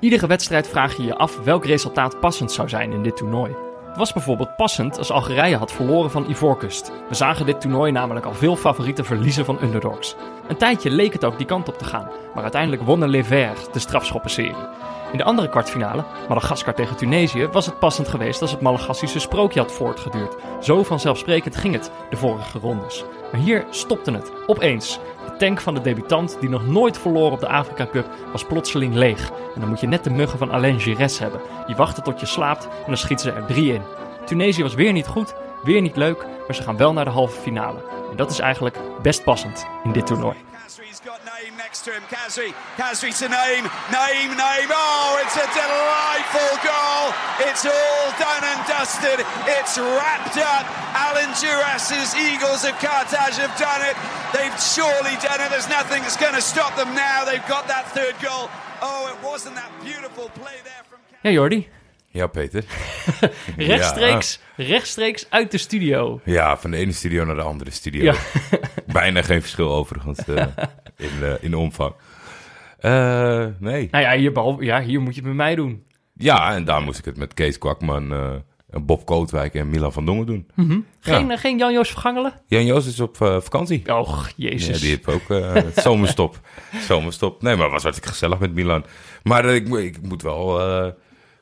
iedere wedstrijd vraag je je af welk resultaat passend zou zijn in dit toernooi. Het was bijvoorbeeld passend als Algerije had verloren van Ivoorkust. We zagen dit toernooi namelijk al veel favorieten verliezen van underdogs. Een tijdje leek het ook die kant op te gaan, maar uiteindelijk wonnen Levert de strafschoppenserie. In de andere kwartfinale, Madagaskar tegen Tunesië, was het passend geweest als het Malagassische sprookje had voortgeduurd. Zo vanzelfsprekend ging het de vorige rondes. Maar hier stopte het, opeens. De tank van de debutant, die nog nooit verloor op de Afrika Cup, was plotseling leeg. En dan moet je net de muggen van Alain Gires hebben. Die wachten tot je slaapt en dan schieten ze er drie in. Tunesië was weer niet goed, weer niet leuk, maar ze gaan wel naar de halve finale. En dat is eigenlijk best passend in dit toernooi. Kazri's got Naeem next to him. Kazri, Kazri to Naeem, Naeem, Naeem. Oh, it's a delightful goal. It's all done and dusted. It's wrapped up. Alan Duras's Eagles of Carthage have done it. They've surely done it. There's nothing that's going to stop them now. They've got that third goal. Oh, it wasn't that beautiful play there from. Ja Jordi, Ja, Peter. rechtstreeks, rechtstreeks uit de studio. Ja, van de ene studio naar de andere studio. Ja. Bijna geen verschil overigens eh, in, eh, in de omvang. Eh, nee. Nou ja hier, behal- ja, hier moet je het met mij doen. Ja, en daar moest ik het met Kees Kwakman, eh, en Bob Kootwijk en Milan van Dongen doen. Geen, Ja. eh, geen Jan-Joos Vergangelen? Jan Joos is op eh, vakantie. Och, Ja, jezus. die heeft ook eh, zomerstop. zomerstop. Nee, maar het was hartstikke gezellig met Milan. Maar eh, ik, mo- ik moet wel, eh,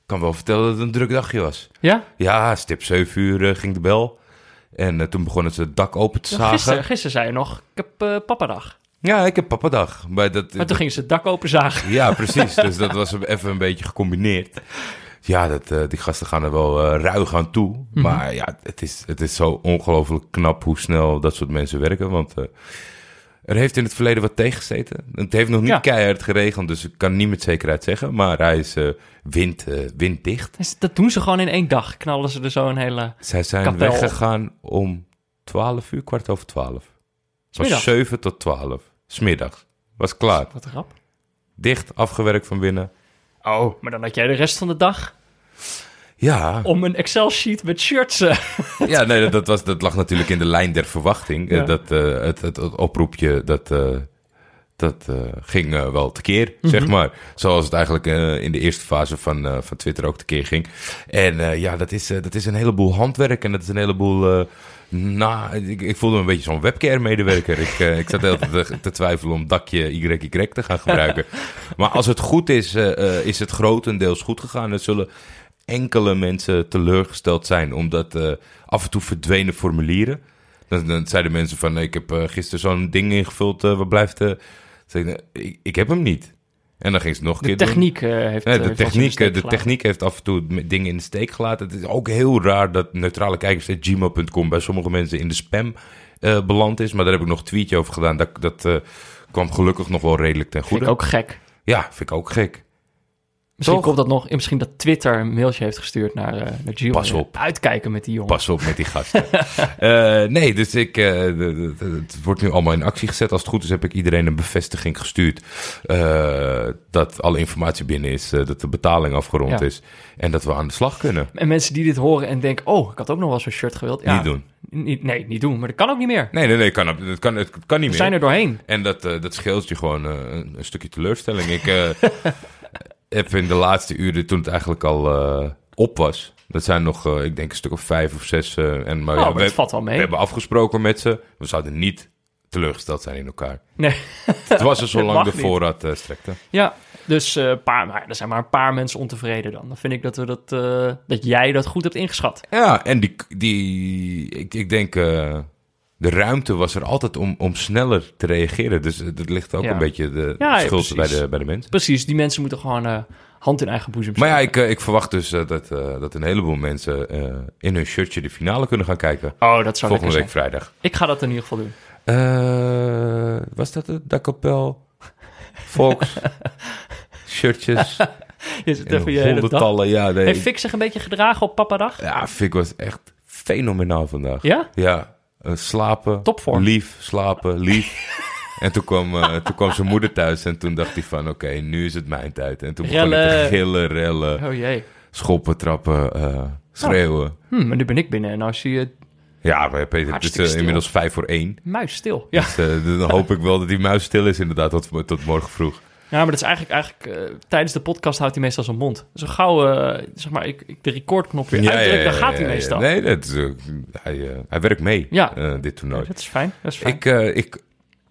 kan wel vertellen dat het een druk dagje was. ja? Ja, stip 7 uur eh, ging de bel. En eh, toen begonnen ze het dak open te Ja, zagen. Gisteren, gisteren zei je nog, ik heb eh papadag. Ja, ik heb pappadag. Maar dat, Maar toen gingen ze het dak open zagen. Ja, precies. Dus dat was even een beetje gecombineerd. Ja, dat, eh, die gasten gaan er wel eh, ruig aan toe. Mhm. Maar ja, het is, het is zo ongelooflijk knap hoe snel dat soort mensen werken. Want eh, er heeft in het verleden wat tegengezeten. Het heeft nog niet Ja. keihard geregend, dus ik kan niet met zekerheid zeggen. Maar hij is eh, wind, eh, winddicht. Dus dat doen ze gewoon in één dag. Knallen ze er zo een hele... Zij zijn Kapel. weggegaan om 12 uur, kwart over 12. Het was Smiddag. 7 tot 12. Smiddag. Was klaar. Wat een grap. Dicht, afgewerkt van binnen. Oh. Maar dan had jij de rest van de dag Ja. om een Excel-sheet met shirts... eh, Ja, nee, dat- dat, was, dat lag natuurlijk in de lijn der verwachting. Eh, Ja. Dat, eh, het, het, het oproepje, dat, eh, dat eh, ging eh, wel tekeer, zeg Mhm. maar. Zoals het eigenlijk eh, in de eerste fase van, eh, van Twitter ook tekeer ging. En eh, ja, dat is, eh, dat is een heleboel handwerk en dat is een heleboel... eh, na, ik, ik voelde me een beetje zo'n webcare-medewerker. Ik, eh, ik zat de hele tijd te, te twijfelen om dakje YY te gaan gebruiken. Maar als het goed is, eh, eh, is het grotendeels goed gegaan. Er zullen enkele mensen teleurgesteld zijn. Omdat eh, af en toe verdwenen formulieren. Dan, dan zeiden mensen van, ik heb eh, gisteren zo'n ding ingevuld, eh wat blijft... eh Zeg ik, nou, ik, ik heb hem niet. En dan ging ze het nog een De keer doen. techniek eh, heeft... Nee, eh, heeft ons de, in techniek, steek eh, de gelaten. techniek heeft af en toe m- dingen in de steek gelaten. Het is ook heel raar dat eh, neutralekijkers.gmail.com bij sommige mensen in de spam eh, beland is. Maar daar heb ik nog een tweetje over gedaan. Dat, dat eh, kwam gelukkig nog wel redelijk ten Vind goede. ik ook gek. Ja, vind ik ook gek. Misschien Toch? komt dat nog... Misschien dat Twitter een mailtje heeft gestuurd naar, eh naar Gio. Pas op. Uitkijken met die jongen. Pas op met die gasten. Eh, nee, dus ik, eh, de- de- de- het wordt nu allemaal in actie gezet. Als het goed is, heb ik iedereen een bevestiging gestuurd. eh, dat alle informatie binnen is. eh, dat de betaling afgerond Ja. is. En dat we aan de slag kunnen. En mensen die dit horen en denken... Oh, ik had ook nog wel zo'n shirt gewild. Ja, Niet doen. Niet, nee, niet doen. Maar dat kan ook niet meer. Nee, nee, nee, kan, het, kan, het kan niet We meer. zijn er doorheen. En dat, eh, dat scheelt je gewoon eh, een, een stukje teleurstelling. Ik eh, heb in de laatste uren, toen het eigenlijk al eh, op was. Dat zijn nog, eh, ik denk, een stuk of vijf of zes. eh, en, maar Oh, ja, maar we, dat valt wel we mee. hebben afgesproken met ze. We zouden niet teleurgesteld zijn in elkaar. Nee. Het was er zo Dat lang de mag niet. voorraad eh, strekte. Ja, dus eh, een paar, maar er zijn maar een paar mensen ontevreden dan. Dan vind ik dat, we dat, eh, dat jij dat goed hebt ingeschat. Ja, en die, die ik, ik denk, eh, de ruimte was er altijd om, om sneller te reageren. Dus eh, dat ligt ook Ja. een beetje de Ja, ja, schuld bij precies. de, bij de mensen. Precies, die mensen moeten gewoon eh, hand in eigen boezem Maar ja, steken. ik, eh, ik verwacht dus eh, dat, eh, dat een heleboel mensen eh, in hun shirtje de finale kunnen gaan kijken. Oh, dat zou volgende lekker week zijn. vrijdag. Ik ga dat in ieder geval doen. Eh, was dat het? Dakapel, Fox, shirtjes, Je zit in even je hele dag. honderdtallen. Ja, nee, Heeft ik- Fik zich een beetje gedragen op papadag? ja, Fik was echt fenomenaal vandaag. Ja? Ja, eh, slapen. Topvorm. Lief, slapen, lief. en toen kwam, eh, toen kwam zijn moeder thuis en toen dacht hij van... oké, nu is het mijn tijd. En toen begon hij Rellen. te gillen, rellen, Oh jee. schoppen, trappen, eh, schreeuwen. Hm, maar nu ben ik binnen en nou zie je Ja, maar Peter, het is Hartstikke eh, stil. inmiddels vijf voor één. muis stil. Ja, Dus, eh, dan hoop ik wel dat die muis stil is inderdaad tot, tot morgen vroeg. Ja, maar dat is eigenlijk, eigenlijk eh, tijdens de podcast houdt hij meestal zijn mond. Zo gauw eh, zeg maar, ik, ik de recordknop weer uitdruk, dan gaat hij ja, ja. meestal. Nee, dat, is, eh, hij, eh, hij werkt mee, Ja. eh, dit toernooi. Dat is fijn, dat is fijn. Ik, eh, ik,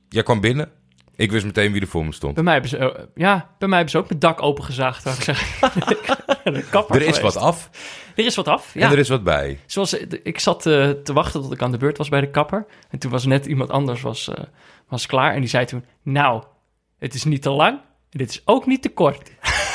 jij kwam binnen. Ik wist meteen wie er voor me stond. Bij mij hebben ze, eh, ja, bij mij hebben ze ook mijn dak opengezaagd, zou ik zeggen. De kapper Er is geweest. wat af Er is wat af, en ja. er is wat bij. Zoals, eh, de- ik zat eh, te wachten tot ik aan de beurt was bij de kapper. En toen was net iemand anders was, eh, was klaar. En die zei toen, nou, het is niet te lang. En dit is ook niet te kort.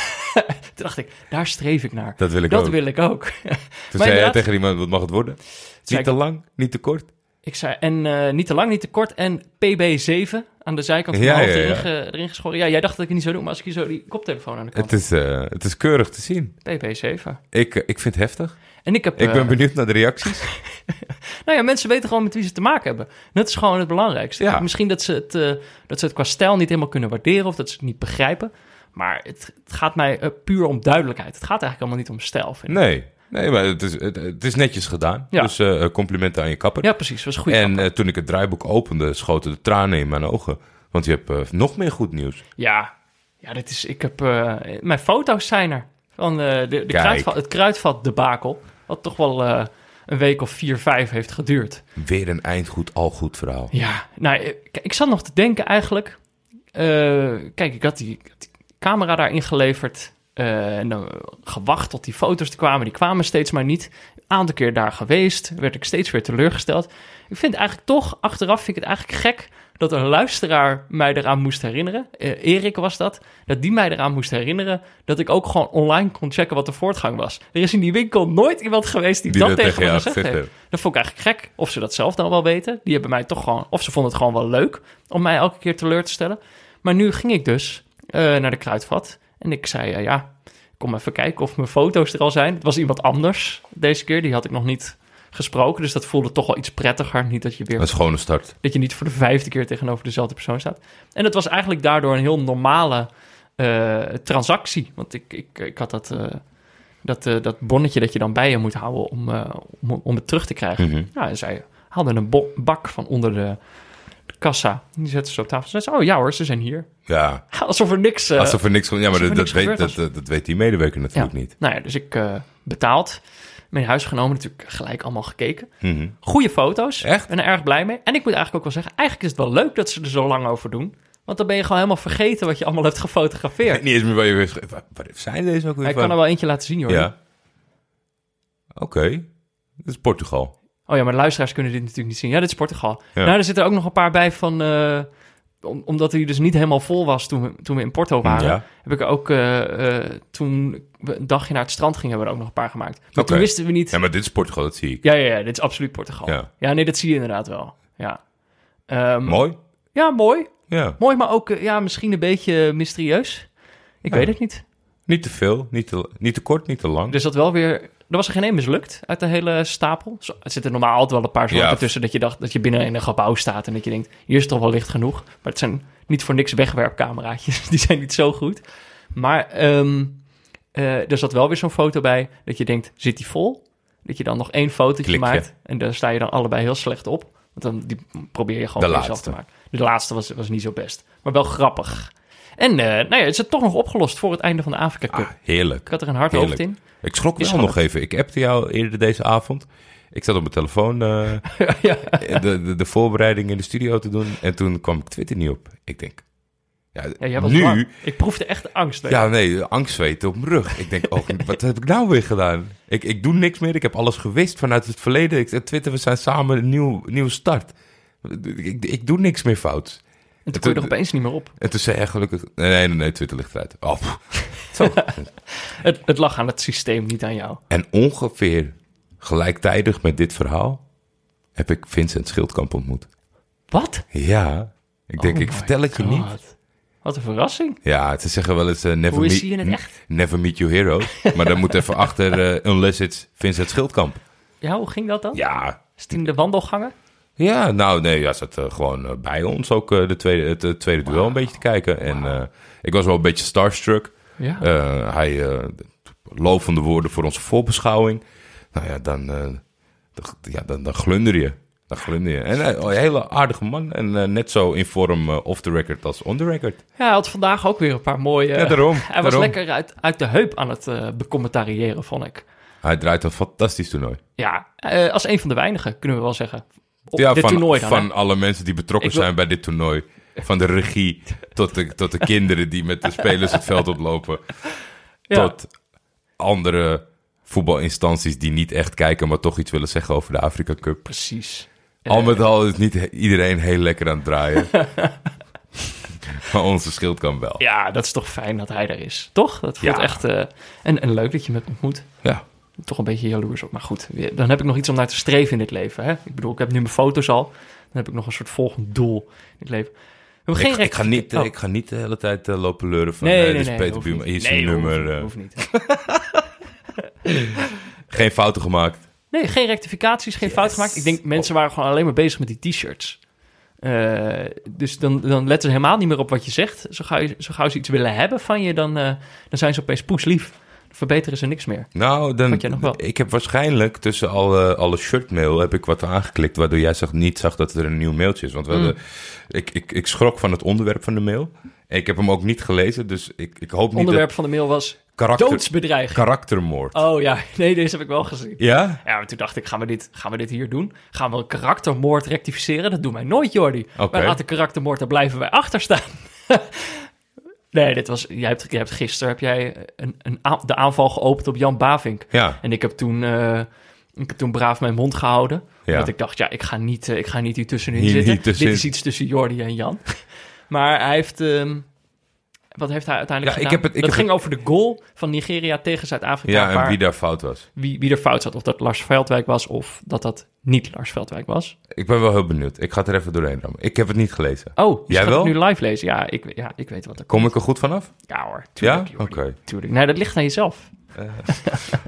toen dacht ik, daar streef ik naar. Dat wil ik dat ook. wil ik ook. Toen Maar zei jij inderdaad- tegen iemand, wat mag het worden? zei Niet ik- te lang, niet te kort. Ik zei, en eh, niet te lang, niet te kort. En PB7 aan de zijkant van Ja, mijn hoofd ja, ja. Erin, ge- erin geschoren. Ja, jij dacht dat ik het niet zou doen, maar als ik hier zo die koptelefoon aan de kant... Het is, eh, het is keurig te zien. PB7. Ik, eh, ik vind het heftig. En ik heb... Ik ben eh, benieuwd naar de reacties. Nou ja, mensen weten gewoon met wie ze te maken hebben. Dat is gewoon het belangrijkste. Ja. Misschien dat ze, het, eh, dat ze het qua stijl niet helemaal kunnen waarderen of dat ze het niet begrijpen. Maar het, het gaat mij eh, puur om duidelijkheid. Het gaat eigenlijk helemaal niet om stijl. Vind ik. Nee, nee maar het is, het, het is netjes gedaan. Ja. Dus eh, complimenten aan je kapper. Ja, precies. Dat was goed. en eh, toen ik het draaiboek opende, schoten de tranen in mijn ogen. Want je hebt eh, nog meer goed nieuws. Ja, ja dit is, ik heb, eh, mijn foto's zijn er. Van eh, de, de Kijk. kruidvat, het kruidvat debakel. Wat toch wel eh, een week of vier, vijf heeft geduurd. Weer een eindgoed, al goed verhaal. Ja, nou, ik, ik zat nog te denken eigenlijk. Eh, kijk, ik had die, ik had die camera daar ingeleverd. eh, en dan gewacht tot die foto's er kwamen. Die kwamen steeds maar niet. Een aantal keer daar geweest. Werd ik steeds weer teleurgesteld. Ik vind eigenlijk toch, achteraf vind ik het eigenlijk gek... dat een luisteraar mij eraan moest herinneren. Eh, Erik was dat. Dat die mij eraan moest herinneren... dat ik ook gewoon online kon checken wat de voortgang was. Er is in die winkel nooit iemand geweest die, Die dat dat tegen tegen me jou gezegd gezegd heeft. Dat vond ik eigenlijk gek. Of ze dat zelf dan wel weten. Die hebben mij toch gewoon... Of ze vonden het gewoon wel leuk om mij elke keer teleur te stellen. Maar nu ging ik dus eh, naar de kruidvat. En ik zei, eh, ja, kom even kijken of mijn foto's er al zijn. Het was iemand anders deze keer. Die had ik nog niet gesproken. Dus dat voelde toch wel iets prettiger. Niet dat je weer Een schone start. dat je niet voor de vijfde keer tegenover dezelfde persoon staat. En dat was eigenlijk daardoor een heel normale eh, transactie. Want ik, ik, ik had dat, eh, dat, eh, dat bonnetje dat je dan bij je moet houden om, eh, om, om het terug te krijgen. Mhm. Nou, en zij haalden een bo- bak van onder de, de kassa. En Die zetten ze op tafel. Ze zeiden, oh ja hoor, ze zijn hier. Ja, Alsof er niks... eh, alsof er niks van... Ja, maar alsof dat, er dat, niks weet, gebeurd dat, was. dat, dat weet die medewerker natuurlijk niet. Nou ja, dus ik eh, betaald. Mijn huisgenomen natuurlijk gelijk allemaal gekeken. Mhm. Goede foto's. Echt? Ben er erg blij mee. En ik moet eigenlijk ook wel zeggen, eigenlijk is het wel leuk dat ze er zo lang over doen. Want dan ben je gewoon helemaal vergeten wat je allemaal hebt Ik gefotografeerd. weet niet eens meer waar je weer schreef. Waar, waar zijn deze ook weer Hij van? kan er wel eentje laten zien hoor. Ja. Oké. Dat is Portugal. Oh ja, maar de luisteraars kunnen dit natuurlijk niet zien. Ja, dit is Portugal. Ja. Nou, er zitten ook nog een paar bij van... eh, om- omdat hij dus niet helemaal vol was toen we, toen we in Porto waren. Ja. Heb ik ook eh, eh, toen we een dagje naar het strand gingen... hebben we er ook nog een paar gemaakt. Maar Oké. toen wisten we niet... Ja, maar dit is Portugal, dat zie ik. Ja, ja, ja, dit is absoluut Portugal. Ja. Ja, nee, dat zie je inderdaad wel. Ja, Ehm, Mooi. ja mooi. Ja. Mooi, maar ook eh, ja, misschien een beetje mysterieus. Ik Ja. weet het niet. Niet te veel, niet te, niet te kort, niet te lang. Er zat Dus wel weer... Er was er geen één mislukt uit de hele stapel. Zo, er zitten normaal altijd wel een paar zorgen Ja. tussen... dat je dacht dat je binnen in een gebouw staat... en dat je denkt, hier is toch wel licht genoeg. Maar het zijn niet voor niks wegwerpcameraatjes. Die zijn niet zo goed. Maar ehm, eh, er zat wel weer zo'n foto bij... dat je denkt, zit die vol? Dat je dan nog één fotootje Klik, maakt... en daar sta je dan allebei heel slecht op. Want dan die probeer je gewoon De voor jezelf laatste. te maken. De laatste was, was niet zo best. Maar wel grappig. En eh nou ja, het is het toch nog opgelost voor het einde van de Afrika Cup. Ah, heerlijk. Ik had er een hard Heerlijk. hoofd in. Ik schrok Is wel dat nog even. Ik appte jou eerder deze avond. Ik zat op mijn telefoon eh, ja. de, de, de voorbereiding in de studio te doen. En toen kwam ik Twitter niet op. Ik denk, ja, Ja, jij was nu... bang. Ik proefde echt angst. hè. Ja, nee, angstzweet op mijn rug. Ik denk ook, wat heb ik nou weer gedaan? Ik, ik doe niks meer. Ik heb alles gewist vanuit het verleden. Ik Twitter, we zijn samen een nieuw, nieuwe start. Ik, ik, ik doe niks meer fout. en toen kon je er opeens niet meer op. En toen zei hij gelukkig... Nee, nee, nee, Twitter ligt eruit. Oh, pff. Zo. Het, het lag aan het systeem, niet aan jou. En ongeveer gelijktijdig met dit verhaal... heb ik Vincent Schildkamp ontmoet. Wat? Ja, ik denk, ik vertel het je niet. Wat een verrassing. Ja, ze zeggen wel eens... eh, never Hoe is meet- hij in het e- echt? Never meet your heroes. maar dan moet even achter... eh, unless it's Vincent Schildkamp. Ja, hoe ging dat dan? Ja, Is het in de wandelgangen? Ja, nou nee, ja, zat eh, gewoon eh, bij ons ook eh, de tweede, het, eh, tweede duel een beetje te kijken. En eh, ik was wel een beetje starstruck. Ja. Eh, hij eh, lovende woorden voor onze voorbeschouwing. Nou ja, dan, eh, dan, ja, dan, dan glunder je. Daar glunde je. En eh, een hele aardige man. En eh, net zo in vorm eh, off the record als on the record. Ja, hij had vandaag ook weer een paar mooie... Ja, daarom, Hij was daarom. lekker uit, uit de heup aan het eh becommentariëren, vond ik. Hij draait een fantastisch toernooi. Ja, eh, als een van de weinigen, kunnen we wel zeggen. Op ja, dit van, toernooi dan. van hè? alle mensen die betrokken Ik wil- zijn bij dit toernooi. Van de regie tot de, tot de kinderen die met de spelers het veld oplopen. Ja. Tot andere voetbalinstanties die niet echt kijken, maar toch iets willen zeggen over de Afrika Cup. Precies. Eh, Al met al is niet he- iedereen heel lekker aan het draaien. maar onze schild kan wel. Ja, dat is toch fijn dat hij er is. Toch? Dat voelt Ja. echt... eh, en, en leuk dat je met me ontmoet. Ja. Toch een beetje jaloers op. Maar goed, weer- dan heb ik nog iets om naar te streven in dit leven. Hè? Ik bedoel, ik heb nu mijn foto's al. Dan heb ik nog een soort volgend doel in het leven. We hebben geen Ik, rek- ik, ga niet, eh, Oh. ik ga niet de hele tijd eh, lopen leuren van... Nee, eh, nee, nee. dit is Peter hoeft Buurman, niet. hier is Nee, zijn hoeft nummer. niet, eh, hoeft niet. geen fouten gemaakt. Nee, geen rectificaties, geen fout gemaakt. Ik denk, mensen waren gewoon alleen maar bezig met die t-shirts. Eh, dus dan, dan letten ze helemaal niet meer op wat je zegt. Zo gauw, je- zo gauw ze iets willen hebben van je, dan, eh, dan zijn ze opeens poeslief. Dan verbeteren ze niks meer. Nou, dan, Vond jij nog wel? ik heb waarschijnlijk tussen alle, alle shirtmail heb ik wat aangeklikt... waardoor jij zag, niet zag dat er een nieuw mailtje is. Want Mm. we hadden- ik, ik, ik schrok van het onderwerp van de mail. Ik heb hem ook niet gelezen, dus ik, ik hoop niet onderwerp van de mail was dat... Karakter, doodsbedreiging. karaktermoord. Oh ja, nee, deze heb ik wel gezien. Ja? Ja, maar toen dacht ik, gaan we dit, gaan we dit hier doen? Gaan we een karaktermoord rectificeren? Dat doen wij nooit, Jordi. Oké. Wij laten karaktermoord, daar blijven wij achter staan. nee, dit was, jij hebt, jij hebt gisteren heb jij een, een, aan- de aanval geopend op Jan Bavink. Ja. En ik heb toen, eh, ik heb toen braaf mijn mond gehouden. Ja. Want ik dacht, ja, ik ga niet, eh, ik ga niet hier tussenin Hier zitten. niet tussenin. Dit is iets tussen Jordi en Jan. maar hij heeft... ehm, wat heeft hij uiteindelijk Ja, ik gedaan? heb het- ik dat heb ging over de goal van Nigeria tegen Zuid-Afrika. Ja, en waar- wie daar fout was. wie, wie er fout zat. Of dat Lars Veldwijk was of dat dat niet Lars Veldwijk was. Ik ben wel heel benieuwd. Ik ga het er even doorheen rammen. Ik heb het niet gelezen. Oh, je Jij gaat wel? het nu live lezen. Ja, ik, ja, ik weet wat er komt. Kom ik er goed vanaf? Ja hoor, Ja? tuurlijk. Oké. Jordi, Tuurlijk. Nee, dat ligt aan jezelf.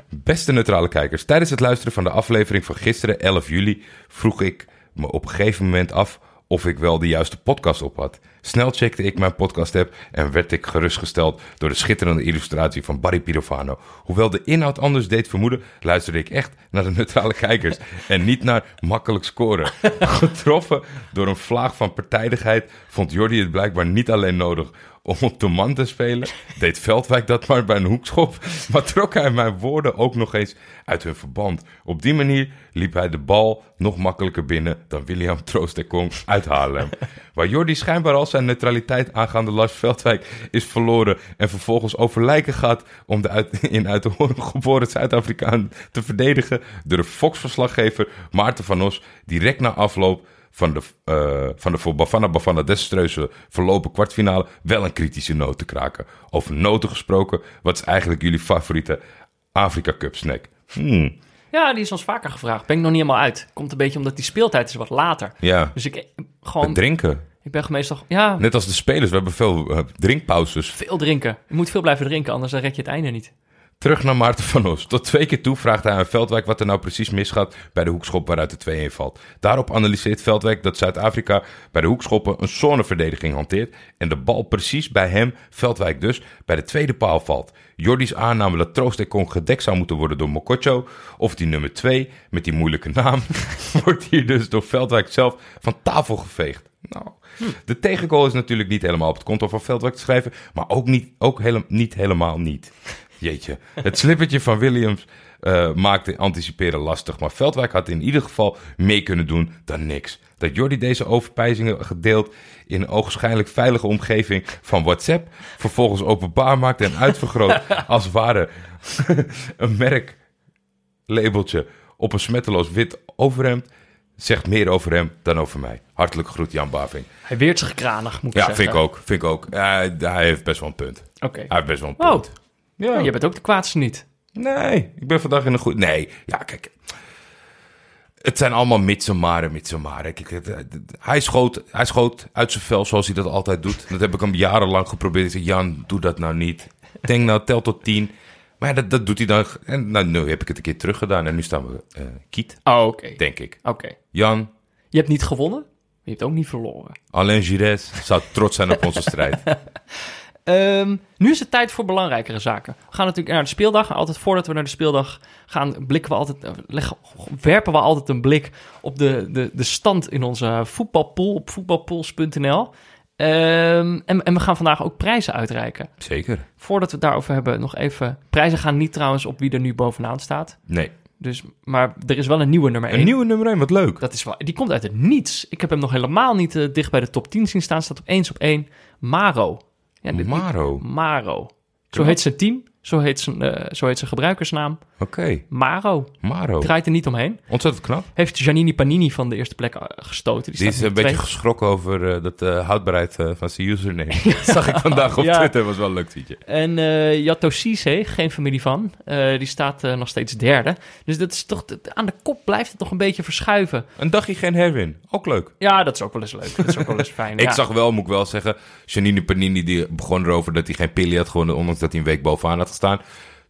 Beste neutrale kijkers, tijdens het luisteren van de aflevering van gisteren, 11 juli, vroeg ik me op een gegeven moment af of ik wel de juiste podcast op had. Snel checkte ik mijn podcast-app en werd ik gerustgesteld door de schitterende illustratie van Barry Pirofano. Hoewel de inhoud anders deed vermoeden, luisterde ik echt naar de neutrale kijkers en niet naar makkelijk scoren. Getroffen door een vlaag van partijdigheid vond Jordi het blijkbaar niet alleen nodig om op de man te spelen. Deed Veldwijk dat maar bij een hoekschop. Maar trok hij mijn woorden ook nog eens uit hun verband. Op die manier liep hij de bal nog makkelijker binnen dan William Troost de Kong uit Haarlem. Waar Jordi schijnbaar al zijn neutraliteit aangaande Lars Veldwijk is verloren. En vervolgens over lijken gaat om de uit, in uit de horen geboren Zuid-Afrikaan te verdedigen. Door Fox-verslaggever Maarten van Os direct na afloop van de, eh, van de voor Bafana Bafana desastreuze verlopen kwartfinale wel een kritische noot te kraken. Over noten gesproken, wat is eigenlijk jullie favoriete Afrika Cup snack? Hmm, Ja, die is ons vaker gevraagd. Ben ik nog niet helemaal uit. Komt een beetje omdat die speeltijd is wat later. ja, Dus ik eh, gewoon... drinken. Ik ben meestal... Ja, Net als de spelers, we hebben veel eh, drinkpauzes. veel drinken. Je moet veel blijven drinken, anders dan red je het einde niet. Terug naar Maarten van Os. Tot twee keer toe vraagt hij aan Veldwijk wat er nou precies misgaat bij de hoekschop waaruit de 2-1 valt. Daarop analyseert Veldwijk dat Zuid-Afrika bij de hoekschoppen een zoneverdediging hanteert en de bal precies bij hem, Veldwijk dus, bij de tweede paal valt. Jordi's aanname dat Troost en Kong gedekt zou moeten worden door Mokotjo of die nummer 2 met die moeilijke naam, wordt hier dus door Veldwijk zelf van tafel geveegd. Nou, de tegengoal is natuurlijk niet helemaal op het konto van Veldwijk te schrijven, maar ook niet, ook hele, niet helemaal niet. Jeetje. Het slippertje van Williams eh, maakte anticiperen lastig. Maar Veldwijk had in ieder geval meer kunnen doen dan niks. Dat Jordi deze overpijzingen gedeeld in een ogenschijnlijk veilige omgeving van WhatsApp. Vervolgens openbaar maakte en uitvergroot als ware een merklabeltje op een smetteloos wit overhemd. Zegt meer over hem dan over mij. Hartelijk groet Jan Baving. Hij weert zich kranig, moet ik Ja, zeggen. vind ik ook. Vind ik ook. Eh, hij heeft best wel een punt. Oké. Hij heeft best wel een Oh, punt. Ja. je bent ook de kwaadste niet. Nee, ik ben vandaag in een goed... Nee, ja, kijk. Het zijn allemaal mits en maren, mits en maren. Kijk, het- het- hij, schoot, hij schoot uit zijn vel zoals hij dat altijd doet. Dat heb ik hem jarenlang geprobeerd. Ik zei, Jan, doe dat nou niet. Denk nou, tel tot tien. Maar ja, dat, dat doet hij dan. En nou, nu heb ik het een keer terug gedaan. En nu staan we eh, kiet, Oh, oké. Oké. denk ik. Jan, Je hebt niet gewonnen, maar je hebt ook niet verloren. Alain Gires zou trots zijn op onze strijd. Ehm, nu is het tijd voor belangrijkere zaken. We gaan natuurlijk naar de speeldag. Altijd voordat we naar de speeldag gaan, blikken we altijd, eh, leggen, werpen we altijd een blik op de, de, de stand in onze voetbalpool op voetbalpools.nl. Ehm, en, en we gaan vandaag ook prijzen uitreiken. Zeker. Voordat we het daarover hebben, nog even. Prijzen gaan niet trouwens op wie er nu bovenaan staat. Nee. Dus, maar er is wel een nieuwe nummer 1. Een nieuwe nummer 1, wat leuk. Dat is wel, die komt uit het niets. Ik heb hem nog helemaal niet eh, dicht bij de top 10 zien staan. Staat op eens op 1. Maro. Ja, dit- Maro. Oké. Maro. Zo heet zijn team. Zo heet zijn, eh, zo heet zijn gebruikersnaam. Maro. Maro. Draait er niet omheen. Ontzettend knap. Heeft Janini Panini van de eerste plek eh, gestoten. Die is staat nu een beetje tweede. geschrokken over eh, dat eh, houdbaarheid eh, van zijn username. Dat zag ik vandaag op Ja. Twitter. was wel een leuk tweetje. En eh Yato Cisse, geen familie van, eh, die staat eh, nog steeds derde. Dus dat is toch, dat- aan de kop blijft het nog een beetje verschuiven. Een dagje geen herwin. Ook leuk. Ja, dat is ook wel eens leuk. Dat is ook wel eens fijn. Ik ja. zag wel, moet ik wel zeggen, Janine Panini die begon erover dat hij geen pillen had gewonnen, ondanks dat hij een week bovenaan had gestaan.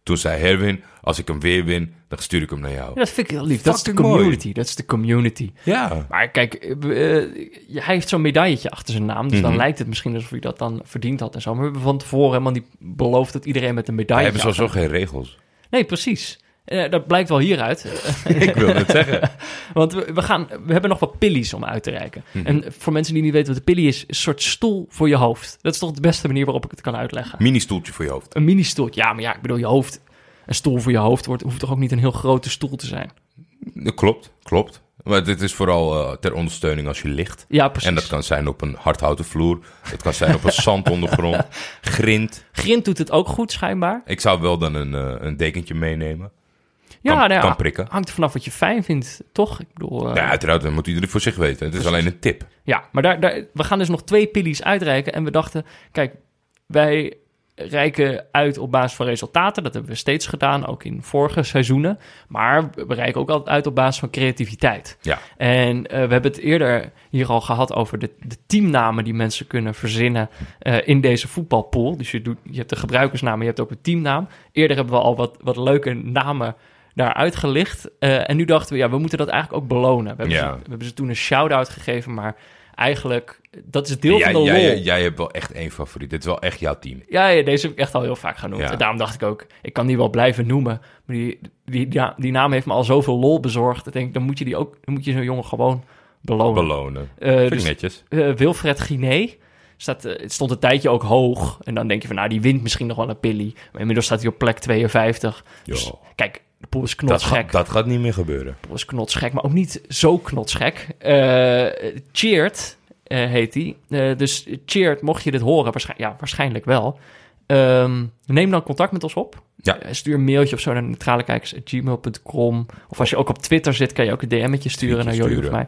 Toen zei Herwin, als ik hem weer win, dan stuur ik hem naar jou. Ja, dat vind ik heel lief. Dat is de Fucking mooi. community. Dat is de community. Ja. Maar kijk, eh, eh, hij heeft zo'n medailletje achter zijn naam. Dus Mhm. dan lijkt het misschien alsof hij dat dan verdiend had en zo. Maar we hebben van tevoren helemaal niet beloofd dat iedereen met een Hij medaille... hebben sowieso geen regels. Nee, precies. Eh, dat blijkt wel hieruit. ik wil het zeggen. Want we, we gaan, we hebben nog wat pillies om uit te reiken. Mhm. En voor mensen die niet weten wat een pillie is, een soort stoel voor je hoofd. Dat is toch de beste manier waarop ik het kan uitleggen. Mini stoeltje voor je hoofd. Een mini-stoeltje. Ja, maar ja, ik bedoel, je hoofd. Een stoel voor je hoofd wordt, hoeft toch ook niet een heel grote stoel te zijn? Eh, Klopt, klopt. Maar dit is vooral eh, ter ondersteuning als je ligt. Ja, precies. En dat kan zijn op een hardhouten vloer. Dat kan zijn op een zandondergrond. Grind. Grind doet het ook goed, schijnbaar. Ik zou wel dan een, eh, een dekentje Oh, meenemen. Ja, Kan- nou ja, kan prikken. hangt er vanaf wat je fijn vindt, toch? Ik bedoel, eh, Nou Ja, ja. uiteraard, dat moet iedereen voor zich weten. Het is alleen een tip. maar daar, daar, we gaan dus nog twee pillies uitreiken. En we dachten, kijk, wij reiken uit op basis van resultaten. Dat hebben we steeds gedaan, ook in vorige seizoenen. Maar we reiken ook altijd uit op basis van creativiteit. Ja. En eh, we hebben het eerder hier al gehad over de, de teamnamen die mensen kunnen verzinnen eh, in deze voetbalpool. Dus je, doet, je hebt de gebruikersnaam, je hebt ook een teamnaam. Eerder hebben we al wat, wat leuke namen daaruit gelicht. Eh, en nu dachten we, ja, we moeten dat eigenlijk ook belonen. We hebben, Ja. ze, we hebben ze toen een shout-out gegeven, maar eigenlijk, eh, dat is deel jij, van de jij, lol. Oh. jij- jij hebt wel echt één favoriet. Dit is wel echt jouw team. Ja, ja, deze heb ik echt al heel vaak genoemd. Ja. En daarom dacht ik ook, ik kan die wel blijven noemen. Maar die, die, die, die naam heeft me al zoveel lol bezorgd. Ik denk, dan moet je die ook, dan moet je zo'n jongen gewoon belonen. Belonen. Eh, Vind ik dus- netjes. Eh, Wilfred Guiné. Staat, eh, het stond een tijdje ook hoog. En dan denk je van, nou, die wint misschien nog wel een pilly. Maar inmiddels staat hij op plek 52. Dus Ja. kijk, de pool is Dat, knotsgek. gaat- dat gaat niet meer gebeuren. De pool is knotsgek, maar ook niet zo knotsgek. Eh Cheert eh, heet hij. dus Cheert, mocht je dit horen, waarschijn- ja, waarschijnlijk wel. Ehm, neem dan contact met ons op. Ja. Eh, stuur een mailtje of zo naar neutralekijkers.gmail.com. Of als je ook op Twitter zit, kan je ook een DM'tje sturen naar Tweetje jullie of mij.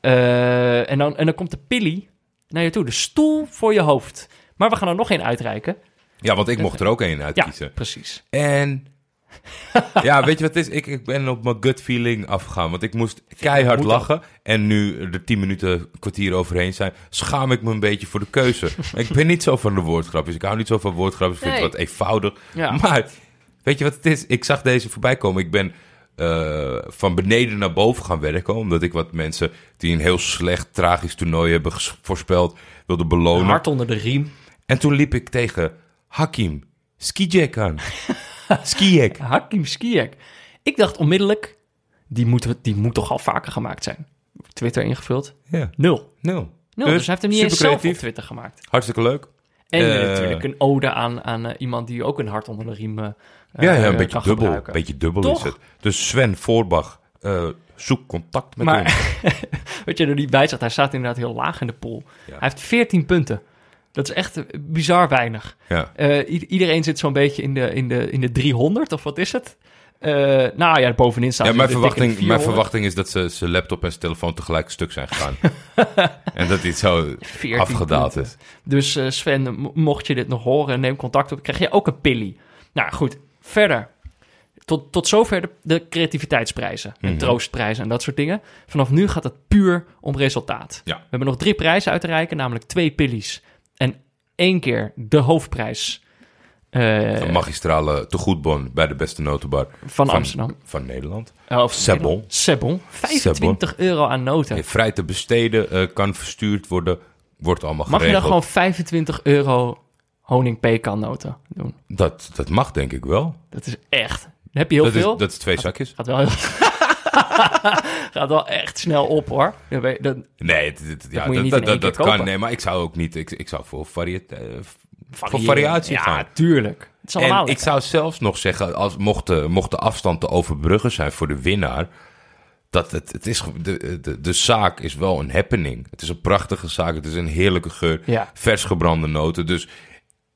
sturen. Eh, en, dan, en dan komt de pilly naar je toe. De stoel voor je hoofd. Maar we gaan er nog één uitreiken. Ja, want ik mocht er ook één Ja, uitkiezen. precies. En... ja, weet je wat het is? Ik, ik ben op mijn gut feeling afgegaan. Want ik moest keihard Moet lachen. En nu er tien minuten, kwartier overheen zijn... schaam ik me een beetje voor de keuze. ik ben niet zo van de woordgrapjes. Ik hou niet zo van woordgrapjes. Ik vind Nee. het wat eenvoudig. Ja. Maar weet je wat het is? Ik zag deze voorbij komen. Ik ben eh, van beneden naar boven gaan werken. Omdat ik wat mensen die een heel slecht, tragisch toernooi hebben ges- voorspeld... wilde belonen. Hart onder de riem. En toen liep ik tegen Hakim Skijek aan. Skijek. Hakim Ziyech. Ik dacht onmiddellijk, die moet, die moet toch al vaker gemaakt zijn. Twitter ingevuld. Ja, Nul. nul. Nul, dus, hij heeft hem niet eens super zelf op creatief. Twitter gemaakt. Hartstikke leuk. En Eh. natuurlijk een ode aan, aan eh, iemand die ook een hart onder de riem eh, Ja, ja eh, een beetje kan dubbel. gebruiken. beetje dubbel Toch? is het. Dus Sven Voorbach, eh, zoek contact met Maar- ons. Weet je, er niet bij zat, hij staat inderdaad heel laag in de pool. Ja. Hij heeft 14 punten. Dat is echt eh, bizar weinig. Ja. Eh, i- iedereen zit zo'n beetje in de, in, de, in de 300, of wat is het? Eh, nou ja, bovenin staat Ja, hij mijn, de dikke verwachting, mijn 400. verwachting is dat ze zijn laptop en zijn telefoon tegelijk stuk zijn gegaan. en dat hij zo 14 afgedaald punten. is. Dus eh, Sven, mo- mocht je dit nog horen, neem contact op. Krijg je ook een pilly. Nou goed, verder. Tot, tot zover de, de creativiteitsprijzen Mhm. en troostprijzen en dat soort dingen. Vanaf nu gaat het puur om resultaat. Ja. We hebben nog drie prijzen uit te reiken, namelijk twee pillies. En één keer de hoofdprijs eh, Een magistrale tegoedbon bij de beste notenbar van, Amsterdam. Van Oh, Nederland. Eh, Of Sebon. Sebon. 25 euro aan noten. Eh, Vrij te besteden, eh, kan verstuurd worden, wordt allemaal Mag je geregeld. dan gewoon 25 euro honing pekannoten doen. Dat, dat mag denk ik wel. Dat is echt. Dan heb je heel Dat is, veel. dat is twee zakjes. Gaat wel heel... Gaat wel echt snel op hoor. Dan ben je- dan- Nee, het- het- ja, moet je dat, niet dat, in één dat, keer dat kan. kopen. Nee, maar ik zou ook niet. Ik, ik zou voor, variëte- eh, voor variëren. variatie Ja, gaan. tuurlijk. Het is allemaal En ik lekker. zou zelfs nog zeggen, als, mocht, de, mocht de afstand te overbruggen zijn voor de winnaar, dat het, het is, ge- de, de, de zaak is wel een happening. Het is een prachtige zaak, het is een heerlijke geur, Ja. vers gebrande noten. Dus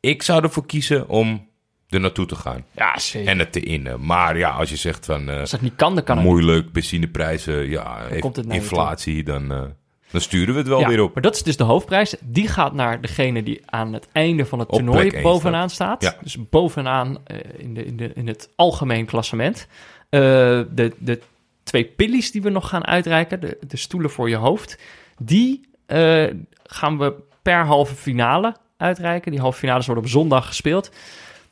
ik zou ervoor kiezen om er naartoe te gaan Ja, zeker. en het te innen. Maar ja, als je zegt van eh, Als dat niet kan, dan kan het moeilijk, benzineprijzen, ja, even komt het naar je toe. inflatie, dan, eh, dan sturen we het wel Ja, weer op. Maar dat is dus de hoofdprijs. Die gaat naar degene die aan het einde van het Op plek toernooi één bovenaan staat. Ja. Dus bovenaan eh, in, de, in, de, in het algemeen klassement. Eh, de, de twee pillies die we nog gaan uitreiken, de, de stoelen voor je hoofd, die eh, gaan we per halve finale uitreiken. Die halve finales worden op zondag gespeeld.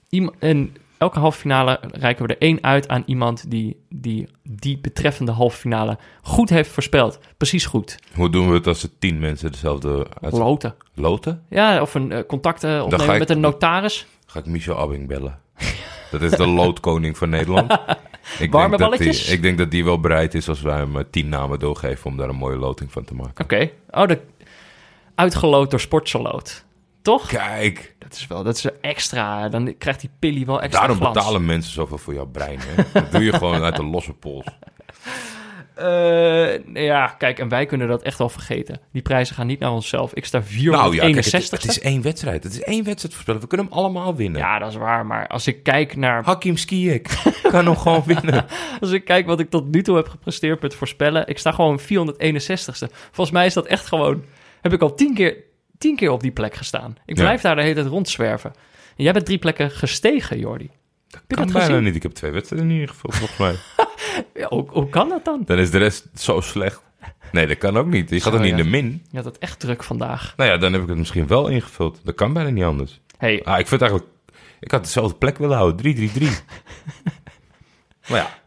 Iem- en elke halve finale reiken we er één uit aan iemand die die, die betreffende halve finale goed heeft voorspeld. Precies goed. Hoe doen we het als er tien mensen dezelfde uit... Loten. loten? Ja, of een eh, contact eh, opnemen ga ik- met een notaris. ga ik Michel Abing bellen. Dat is de loodkoning van Nederland. Ik Warme denk dat die, balletjes? ik denk dat die wel bereid is als wij hem eh, tien namen doorgeven om daar een mooie loting van te maken. Oké. Oh, de... uitgeloot door sportsaloot. Toch? Kijk, Dat is wel, dat is extra. Dan krijgt die pilly wel extra daarom glans. betalen mensen zoveel voor jouw brein. Hè? Dat doe je gewoon uit de losse pols. Eh, ja, kijk, en wij kunnen dat echt wel vergeten. Die prijzen gaan niet naar onszelf. Ik sta 461. Nou het, het is één wedstrijd. Het is één wedstrijd voorspellen. We kunnen hem allemaal winnen. Ja, dat is waar. Maar als ik kijk naar Hakim Ziyech kan hem gewoon winnen. Als ik kijk wat ik tot nu toe heb gepresteerd met voorspellen, ik sta gewoon 461ste. Volgens mij is dat echt gewoon. Heb ik al tien keer, tien keer op die plek gestaan. Ik Ja. blijf daar de hele tijd rondzwerven. En jij bent drie plekken gestegen, Jordi. Heb je Kan dat bijna gezien? niet. Ik heb twee wedstrijden in ieder geval, volgens mij. Ja, hoe, hoe kan dat dan? Dan is de rest zo slecht. Nee, dat kan ook niet. Je gaat Zo, er niet ja. in de min. Je had het echt druk vandaag. Nou ja, dan heb ik het misschien wel ingevuld. Dat kan bijna niet anders. Hey, Ah, ik vind eigenlijk... Ik had dezelfde plek willen houden. 3-3-3. maar ja,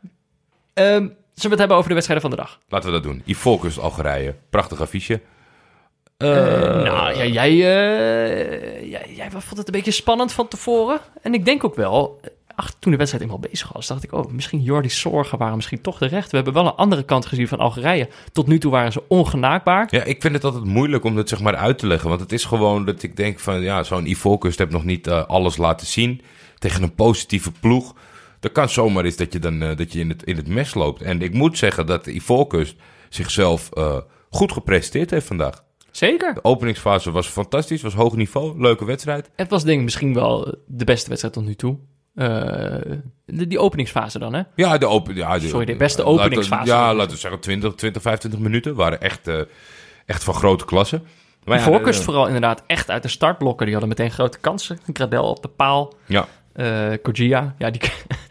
ehm, zullen we het hebben over de wedstrijden van de dag? laten we dat doen. Ivoorkust Algerije. Prachtig affiche. Eh, nou, ja, jij, eh, jij, jij vond het een beetje spannend van tevoren. En ik denk ook wel, eh, ach, toen de wedstrijd eenmaal bezig was, dacht ik, oh, misschien Jordi's zorgen waren misschien toch terecht. We hebben wel een andere kant gezien van Algerije. Tot nu toe waren ze ongenaakbaar. Ja, ik vind het altijd moeilijk om dat zeg maar uit te leggen. Want het is gewoon dat ik denk van... Ja, zo'n Ivoorkust heb nog niet eh, alles laten zien. Tegen een positieve ploeg. Dat kan zomaar eens dat je, dan, eh, dat je in, het, in het mes loopt. En ik moet zeggen dat de Ivoorkust zichzelf eh, goed gepresteerd heeft vandaag. Zeker. De openingsfase was fantastisch. Was hoog niveau. Leuke wedstrijd. Het was denk ik misschien wel de beste wedstrijd tot nu toe. Eh, de- die openingsfase dan, hè? Ja, de open, ja, Sorry, de eh, beste laten- openingsfase. ja, laten we zeggen 20, 20, 25 minuten. waren echt, eh, echt van grote klasse. Maar De ja, voorkust eh, vooral inderdaad echt uit de startblokken. Die hadden meteen grote kansen. Gradel op de paal. Ja, eh Kojia, ja, die,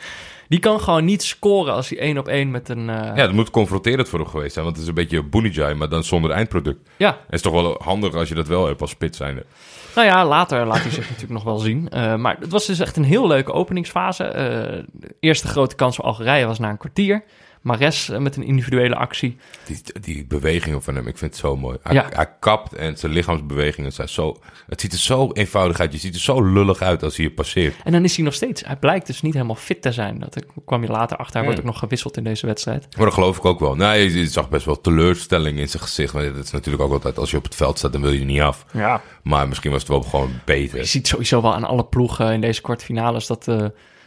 die kan gewoon niet scoren als hij één op één met een... eh, ja, dat moet confronterend voor hem geweest zijn. Want het is een beetje Boenijai, maar dan zonder eindproduct. ja, Het is toch wel handig als je dat wel hebt als spits zijnde. Nou ja, later laat hij zich natuurlijk nog wel zien. Eh, maar het was dus echt een heel leuke openingsfase. Eh, de eerste grote kans voor Algerije was na een kwartier. Mares eh, met een individuele actie. Die, die bewegingen van hem, ik vind het zo mooi. Hij, Ja. hij kapt en zijn lichaamsbewegingen zijn zo... Het ziet er zo eenvoudig uit. Je ziet er zo lullig uit als hij je passeert. En dan is hij nog steeds. Hij blijkt dus niet helemaal fit te zijn. Dat ik- kwam je later achter. Hij wordt ook nog gewisseld in deze wedstrijd. Maar dat geloof ik ook wel. Nee, je, je zag best wel teleurstelling in zijn gezicht. Maar dat is natuurlijk ook altijd... Als je op het veld staat, dan wil je er niet af. Ja. Maar misschien was het wel gewoon beter. Je ziet sowieso wel aan alle ploegen in deze kwartfinales dat. eh,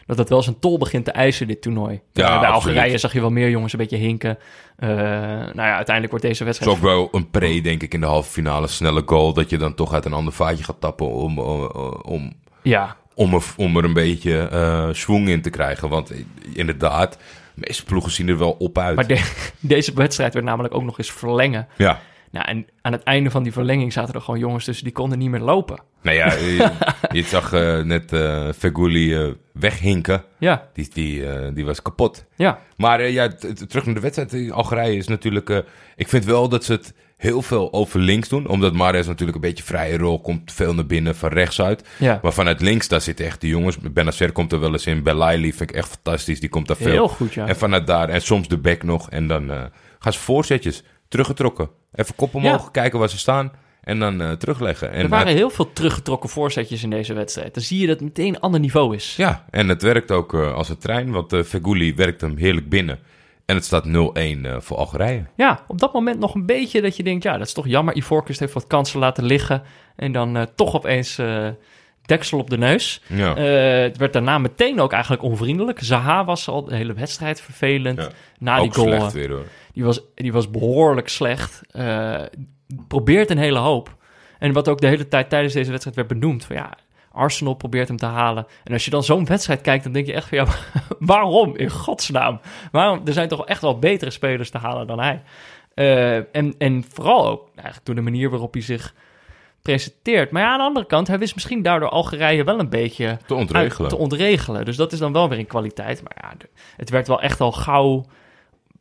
dat dat wel zijn tol begint te eisen, dit toernooi. Ja, Eh, bij absoluut. Algerije zag je wel meer jongens een beetje hinken. Eh, nou ja, uiteindelijk wordt deze Het wedstrijd... is ook wel een pre, denk ik, in de halve finale. Snelle goal. Dat je dan toch uit een ander vaatje gaat tappen om, om, om, Ja, om, er, om er een beetje eh schwung in te krijgen. Want inderdaad, de meeste ploegen zien er wel op uit. maar de- deze wedstrijd werd namelijk ook nog eens verlengen. Ja. Nou, en aan het einde van die verlenging zaten er gewoon jongens tussen die konden niet meer lopen. Nou ja, je, je zag eh, net eh Feguli eh, weghinken. Ja, Die, die, eh, die was kapot. ja. Maar eh, ja, t- t- terug naar de wedstrijd. Eh, Algerije is natuurlijk... eh, ik vind wel dat ze het heel veel over links doen. Omdat Mares natuurlijk een beetje vrije rol komt. Veel naar binnen, van rechts uit. Ja. Maar vanuit links, daar zitten echt de jongens. Benacer komt er wel eens in. Belaili vind ik echt fantastisch. Die komt daar veel. Heel goed, ja. En vanuit daar. En soms de back nog. En dan eh, gaan ze voorzetjes. Teruggetrokken. Even kop omhoog. Kijken waar ze staan. en dan eh, terugleggen. En Er waren het- heel veel teruggetrokken voorzetjes in deze wedstrijd. Dan zie je dat het meteen een ander niveau is. eh, ja, en het werkt ook eh, als een trein, want eh Feguli werkt hem heerlijk binnen. En het staat 0-1 eh, voor Algerije. Ja, op dat moment nog een beetje dat je denkt... ja, dat is toch jammer, Ivorcus heeft wat kansen laten liggen... en dan eh, toch opeens eh, deksel op de neus. Ja. Eh, het werd daarna meteen ook eigenlijk onvriendelijk. Zaha was al de hele wedstrijd vervelend. Ja. Na die ook goal, slecht eh, weer hoor. die was, die was behoorlijk slecht. Eh, probeert een hele hoop. En wat ook de hele tijd tijdens deze wedstrijd werd benoemd... van ja, Arsenal probeert hem te halen. En als je dan zo'n wedstrijd kijkt, dan denk je echt van... ja, waarom in godsnaam? Waarom? Er zijn toch echt wel betere spelers te halen dan hij. Eh, en, en vooral ook nou, eigenlijk door de manier waarop hij zich presenteert. Maar ja, aan de andere kant, hij wist misschien daardoor Algerije wel een beetje Te ontregelen. uit- te ontregelen. Dus dat is dan wel weer een kwaliteit. Maar ja, de- het werd wel echt al gauw,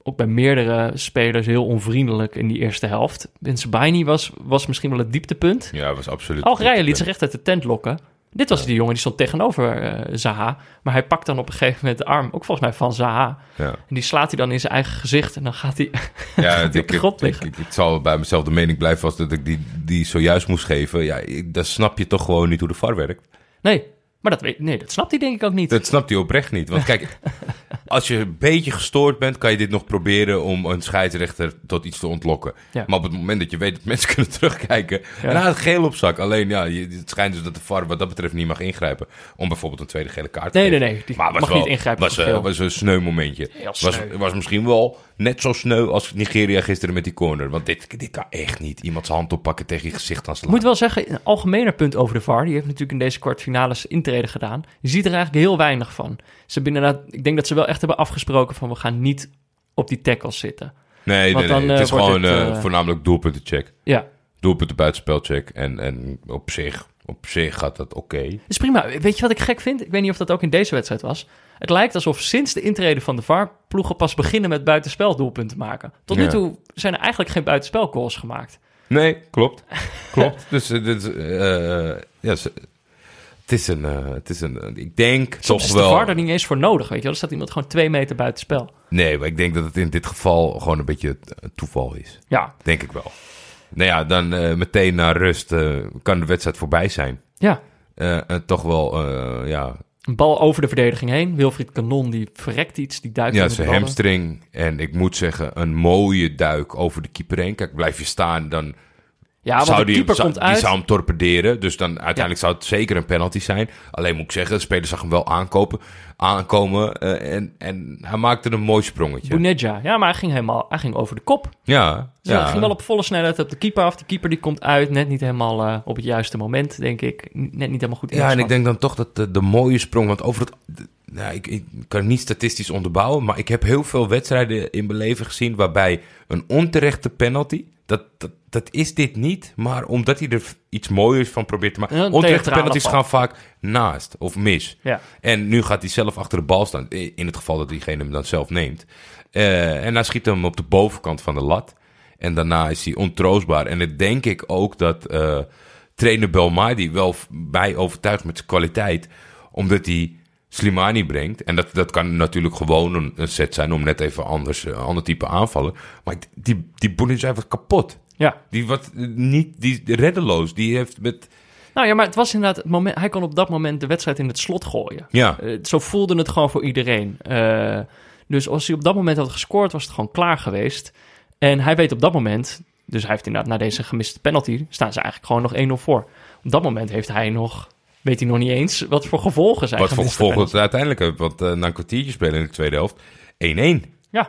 ook bij meerdere spelers, heel onvriendelijk in die eerste helft. Bensebaini was, was misschien wel het dieptepunt. Ja, was absoluut. Algerije liet zich echt uit de tent lokken. Dit was die jongen die stond tegenover eh, Zaha. Maar hij pakt dan op een gegeven moment de arm, ook volgens mij van Zaha. Ja. En die slaat hij dan in zijn eigen gezicht. En dan gaat hij. Ja, op de ik, ik, grond ik, liggen. ik- ik zal bij mezelf de mening blijven vast dat ik die, die zojuist moest geven. Ja, ik, dan snap je toch gewoon niet hoe de VAR werkt. Nee, maar dat, weet- nee, dat snapt hij denk ik ook niet. Dat snapt hij oprecht niet. Want kijk, als je een beetje gestoord bent, kan je dit nog proberen om een scheidsrechter tot iets te ontlokken. Ja. Maar op het moment dat je weet dat mensen kunnen terugkijken, Ja. en hij had geel op zak. Alleen ja, je- het schijnt dus dat de VAR wat dat betreft niet mag ingrijpen om bijvoorbeeld een tweede gele kaart te Nee, geven. nee, nee, die Maar was mag wel- niet ingrijpen Was, op eh, geel. was een sneu momentje. Heel Was, sneu. was misschien wel net zo sneu als Nigeria gisteren met die corner. Want dit, dit kan echt niet. Iemand zijn hand oppakken tegen je gezicht aan Ik slaan. moet wel zeggen, een algemener punt over de VAR. Die heeft natuurlijk in deze kwartfinales intreden gedaan. Je ziet er eigenlijk heel weinig van. Ze hebben inderdaad, ik denk dat ze wel echt hebben afgesproken van we gaan niet op die tackles zitten. Nee, nee, Want dan, nee. Het eh, is wordt gewoon het, eh, eh, voornamelijk doelpuntencheck. Ja, doelpunten buitenspelcheck. En, en op, zich, op zich gaat dat oké. is prima. Weet je wat ik gek vind? Ik weet niet of dat ook in deze wedstrijd was. Het lijkt alsof sinds de intrede van de VAR ploegen pas beginnen met buitenspeldoelpunten maken. Tot nu Ja. toe zijn er eigenlijk geen buitenspelcalls gemaakt. Nee, klopt. Klopt. dus eh, dit, is, eh, eh, ja, ze- het is een... eh, het is een eh, ik denk Soms toch Dus is de wel... VAR er niet eens voor nodig, weet je wel. Er staat iemand gewoon twee meter buitenspel. Nee, maar ik denk dat het in dit geval gewoon een beetje eh, toeval is. Ja, Denk ik wel. Nou ja, dan eh, meteen naar rust eh, kan de wedstrijd voorbij zijn. ja. Eh, eh, toch wel, eh, ja, Een bal over de verdediging heen. Wilfried Kanon die verrekt iets, die duikt Ja, in de zijn ballen. hamstring. En ik moet zeggen, een mooie duik over de keeper heen. Kijk, blijf je staan, dan Ja, want zou de die, keeper zou- komt die uit. zou hem torpederen. Dus dan uiteindelijk Ja. zou het zeker een penalty zijn. Alleen moet ik zeggen, de speler zag hem wel aankopen, aankomen. eh, en, en hij maakte een mooi sprongetje. Bounedja. Ja, maar hij ging helemaal hij ging over de kop. ja, Dus ja. hij ging wel op volle snelheid op de keeper af. De keeper die komt uit, net niet helemaal eh, op het juiste moment, denk ik. N- Net niet helemaal goed ja, en ik ingeschat. denk dan toch dat de, de mooie sprong... Want over het... de- nou, ik, ik kan het niet statistisch onderbouwen... maar ik heb heel veel wedstrijden in mijn leven gezien... waarbij een onterechte penalty... Dat, dat, dat is dit niet, maar omdat hij er iets moois van probeert te maken... Ja, een onterechte theatrale penalties val. gaan vaak naast of mis. Ja. En nu gaat hij zelf achter de bal staan... i- in het geval dat diegene hem dan zelf neemt. Eh, en hij schiet hem op de bovenkant van de lat... En daarna is hij ontroostbaar. En dan denk ik ook dat eh, trainer Belmadi wel v- mij overtuigt met zijn kwaliteit. Omdat hij Slimani brengt. En dat, dat kan natuurlijk gewoon een, een set zijn om net even anders, eh, een ander type aanvallen. Maar ik- die, die Boenin was kapot. Ja. Die wat eh, niet, die reddeloos. Die heeft met, Nou ja, maar het was inderdaad het moment. Hij kon op dat moment de wedstrijd in het slot gooien. ja, Eh, zo voelde het gewoon voor iedereen. Eh, dus als hij op dat moment had gescoord, was het gewoon klaar geweest. En hij weet op dat moment, dus hij heeft inderdaad na deze gemiste penalty, staan ze eigenlijk gewoon nog 1-0 voor. Op dat moment heeft hij nog, weet hij nog niet eens, wat voor gevolgen zijn wat voor gemiste gevolgen het uiteindelijk heeft. Want eh, na een kwartiertje spelen in de tweede helft, 1-1. penalty. Ja,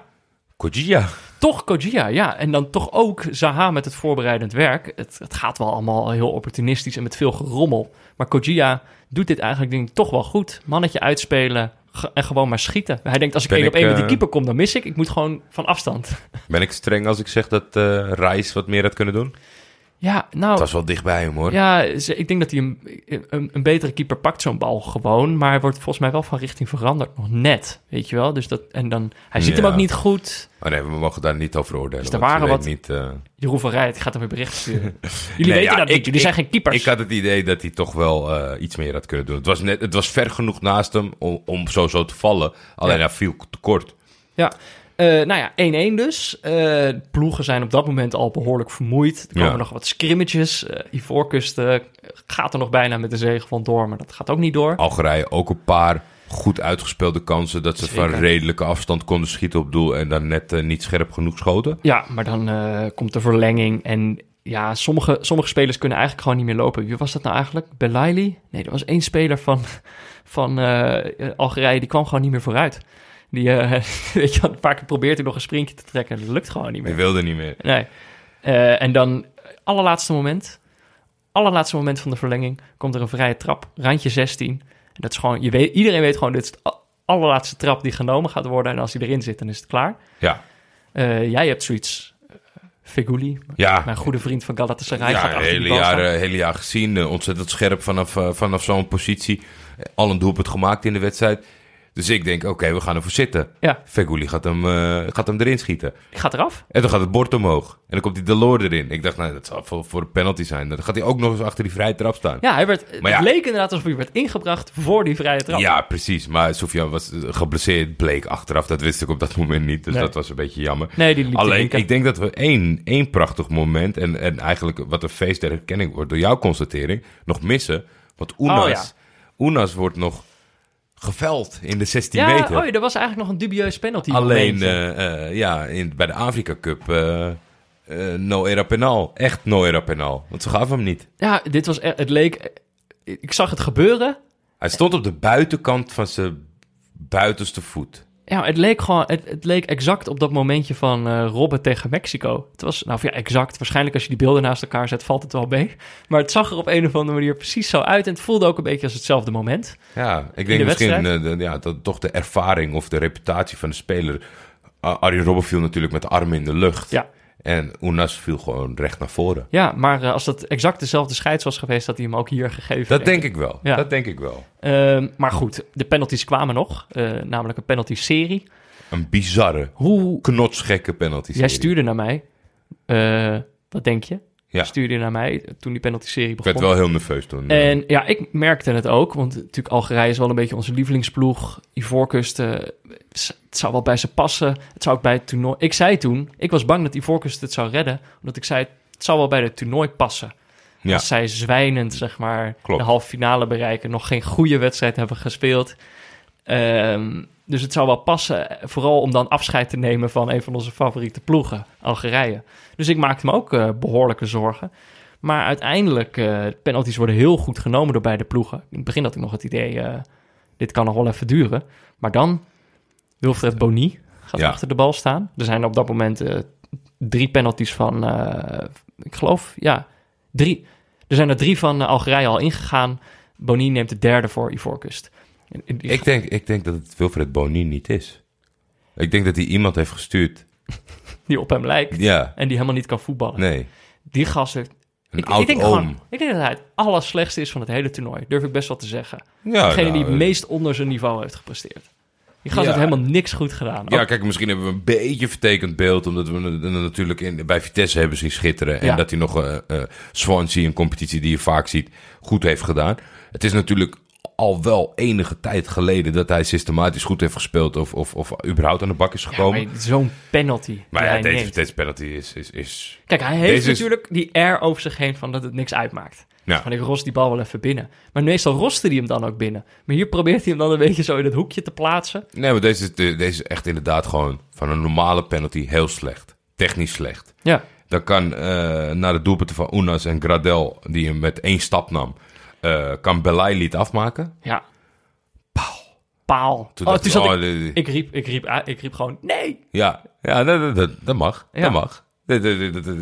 Kojia. toch Kojia, ja. En dan toch ook Zaha met het voorbereidend werk. Het, het gaat wel allemaal heel opportunistisch en met veel gerommel. Maar Kojia doet dit eigenlijk denk ik toch wel goed. Mannetje uitspelen ge- en gewoon maar schieten. Hij denkt, als ik Ben één op ik, één met die eh, keeper kom, dan mis ik. Ik moet gewoon van afstand. Ben ik streng als ik zeg dat eh Rice wat meer had kunnen doen? Ja, Het nou... was wel dichtbij hem hoor. Oh. Ja, ze- ik denk dat hij een, een, een betere keeper pakt zo'n bal gewoon. Maar hij wordt volgens mij wel van richting veranderd. Nog net, weet je wel. Dus dat, en dan, hij ziet Ja. hem ook niet goed. Oh nee, we mogen daar niet over oordelen. Dus er want je waren weet Niet, eh, Jeroen van Rijt gaat hem weer berichten sturen. Jullie Nee, weten ja, dat ik- niet. Jullie ik- zijn geen keepers. Ik had het idee dat hij toch wel eh, iets meer had kunnen doen. Het was, net, het was ver genoeg naast hem om, om zo, zo te vallen. Alleen Ja. hij viel tekort. Ja, Eh, nou ja, 1-1 dus. Eh, de ploegen zijn op dat moment al behoorlijk vermoeid. Er komen Ja. nog wat scrimmetjes. Eh Ivoorkust eh, gaat er nog bijna met de zege van door, maar dat gaat ook niet door. Algerije ook een paar goed uitgespeelde kansen. Dat ze van Zeker. redelijke afstand konden schieten op doel. En dan net eh, niet scherp genoeg schoten. Ja, maar dan eh, komt de verlenging en ja, sommige, sommige spelers kunnen eigenlijk gewoon niet meer lopen. Wie was dat nou eigenlijk? Belaili? Nee, er was één speler van, van eh, Algerije, die kwam gewoon niet meer vooruit. Die, eh, weet je, wel, een paar keer probeert hij nog een sprintje te trekken en dat lukt gewoon niet Die meer. wilde niet meer. Nee. Eh, en dan, allerlaatste moment, allerlaatste moment van de verlenging, komt er een vrije trap, randje 16. En dat is gewoon, je weet, iedereen weet gewoon, dit is de a- allerlaatste trap die genomen gaat worden. En als hij erin zit, dan is het klaar. Ja, Eh, jij hebt zoiets. eh, Feghouli, ja. mijn goede vriend van Galatasaray, Nou, gaat Ah. ja achter hele, die bal staan. jaren, hele jaar gezien. eh, ontzettend scherp vanaf, eh, vanaf zo'n positie. Eh, Al een doelpunt gemaakt in de wedstrijd. Dus ik denk, oké, we gaan ervoor zitten. Ja, Feguli gaat hem, eh, gaat hem erin schieten. die gaat eraf. En dan gaat het bord omhoog. En dan komt die Delors erin. Ik dacht, nou, dat zal voor, voor een penalty zijn. Dan gaat hij ook nog eens achter die vrije trap staan. Ja, hij werd, Maar ja. het leek inderdaad alsof hij werd ingebracht voor die vrije trap. Ja, precies. Maar Sofian was eh, geblesseerd, bleek achteraf. Dat wist ik op dat moment niet. Dus Nee. dat was een beetje jammer. Nee, die liep te Alleen, linken. ik denk dat we één, één prachtig moment... En, en eigenlijk wat een feest der herkenning wordt door jouw constatering... nog missen. Want Oenas, Oh, ja. Oenas wordt nog geveld in de 16 ja, meter. oh, ja, er was eigenlijk nog een dubieus penalty. Alleen momentje. eh, eh, ja, in, bij de Afrika Cup... eh, eh, no era penal. Echt no era penal. Want ze gaven hem niet. ja, dit was, e- het leek, eh, ik zag het gebeuren. Hij stond op de buitenkant van zijn buitenste voet. Ja, het leek gewoon, het, het leek exact op dat momentje van eh, Robben tegen Mexico. Het was, nou of ja, exact. Waarschijnlijk als je die beelden naast elkaar zet, valt het wel mee. Maar het zag er op een of andere manier precies zo uit. En het voelde ook een beetje als hetzelfde moment. Ja, ik denk de misschien wedstrijd? eh, de- ja, dat toch de ervaring of de reputatie van de speler. Ah, Arjen Robben viel natuurlijk met de armen in de lucht. Ja. En Oenas viel gewoon recht naar voren. Ja, maar eh, als dat exact dezelfde scheids was geweest, had hij hem ook hier gegeven. Dat denk ik wel. Ja. Dat denk ik wel. Ehm, maar goed, de penalties kwamen nog. eh, namelijk een penalty-serie. Een bizarre, Hoe... knotsgekke penalty. Jij stuurde naar mij. eh, wat denk je? Ja. Stuurde je naar mij eh, toen die penalty-serie Ik begon. werd wel heel nerveus toen. eh, En ja, ik merkte het ook. Want natuurlijk Algerije is wel een beetje onze lievelingsploeg. Ivoorkust, eh, het zou wel bij ze passen. Het zou ook bij het toernooi... Ik zei toen, ik was bang dat Ivoorkust het zou redden. Omdat ik zei, het zou wel bij het toernooi passen. Ja. Als zij zwijnend, zeg maar, Klopt. de halve finale bereiken. Nog geen goede wedstrijd hebben gespeeld. Ehm, dus het zou wel passen. eh, Vooral om dan afscheid te nemen van een van onze favoriete ploegen, Algerije. Dus ik maakte me ook eh, behoorlijke zorgen. Maar uiteindelijk, eh penalties worden heel goed genomen door beide ploegen. In het begin had ik nog het idee, eh, dit kan nog wel even duren. Maar dan, Wilfred Boni gaat Ja. achter de bal staan. Er zijn op dat moment eh, drie penalties van, eh, ik geloof, ja, drie. Er zijn er drie van eh, Algerije al ingegaan. Boni neemt de derde voor Ivoorkust. En- en die- ik, denk, ik denk dat het Wilfred Boni niet is. Ik denk dat hij iemand heeft gestuurd. die op hem lijkt Ja, en die helemaal niet kan voetballen. nee. Die gast heeft... Een Ik, oud ik, denk oom. gewoon, ik denk dat hij het allerslechtste is van het hele toernooi. Durf ik best wel te zeggen. Ja, Degene nou, die het eh, meest onder zijn niveau heeft gepresteerd. Die gast Ja. heeft helemaal niks goed gedaan. Oh, Ja, Ook- kijk, misschien hebben we een beetje vertekend beeld. Omdat we hem natuurlijk in, bij Vitesse hebben zien schitteren. En Ja. dat hij nog eh eh, Swansea, een competitie die je vaak ziet, goed heeft gedaan. Het is natuurlijk al wel enige tijd geleden dat hij systematisch goed heeft gespeeld. Of, of, of überhaupt aan de bak is ja, gekomen. maar zo'n penalty. die maar ja, hij deze, neemt. deze penalty is... is, is Kijk, hij heeft Deze is- natuurlijk die air over zich heen van dat het niks uitmaakt. ja. Van ik rost die bal wel even binnen. Maar meestal roste hij hem dan ook binnen. Maar hier probeert hij hem dan een beetje zo in het hoekje te plaatsen. Nee, maar deze, is- de- deze is echt inderdaad gewoon van een normale penalty heel slecht. Technisch slecht. Ja, Dan kan eh na de doelpunten van Unas en Gradel, die hem met één stap nam, eh, kan Belaili het afmaken. ja. Paal. Paal. Toen oh, toen dacht ik, zat oh, ik, dit- dit- ik, riep, ik, riep, uit- ik riep gewoon, nee. Ja, ja dat, dat- dat, dat mag. Ja. Dat mag. Dat- dat- dat- dat- dat-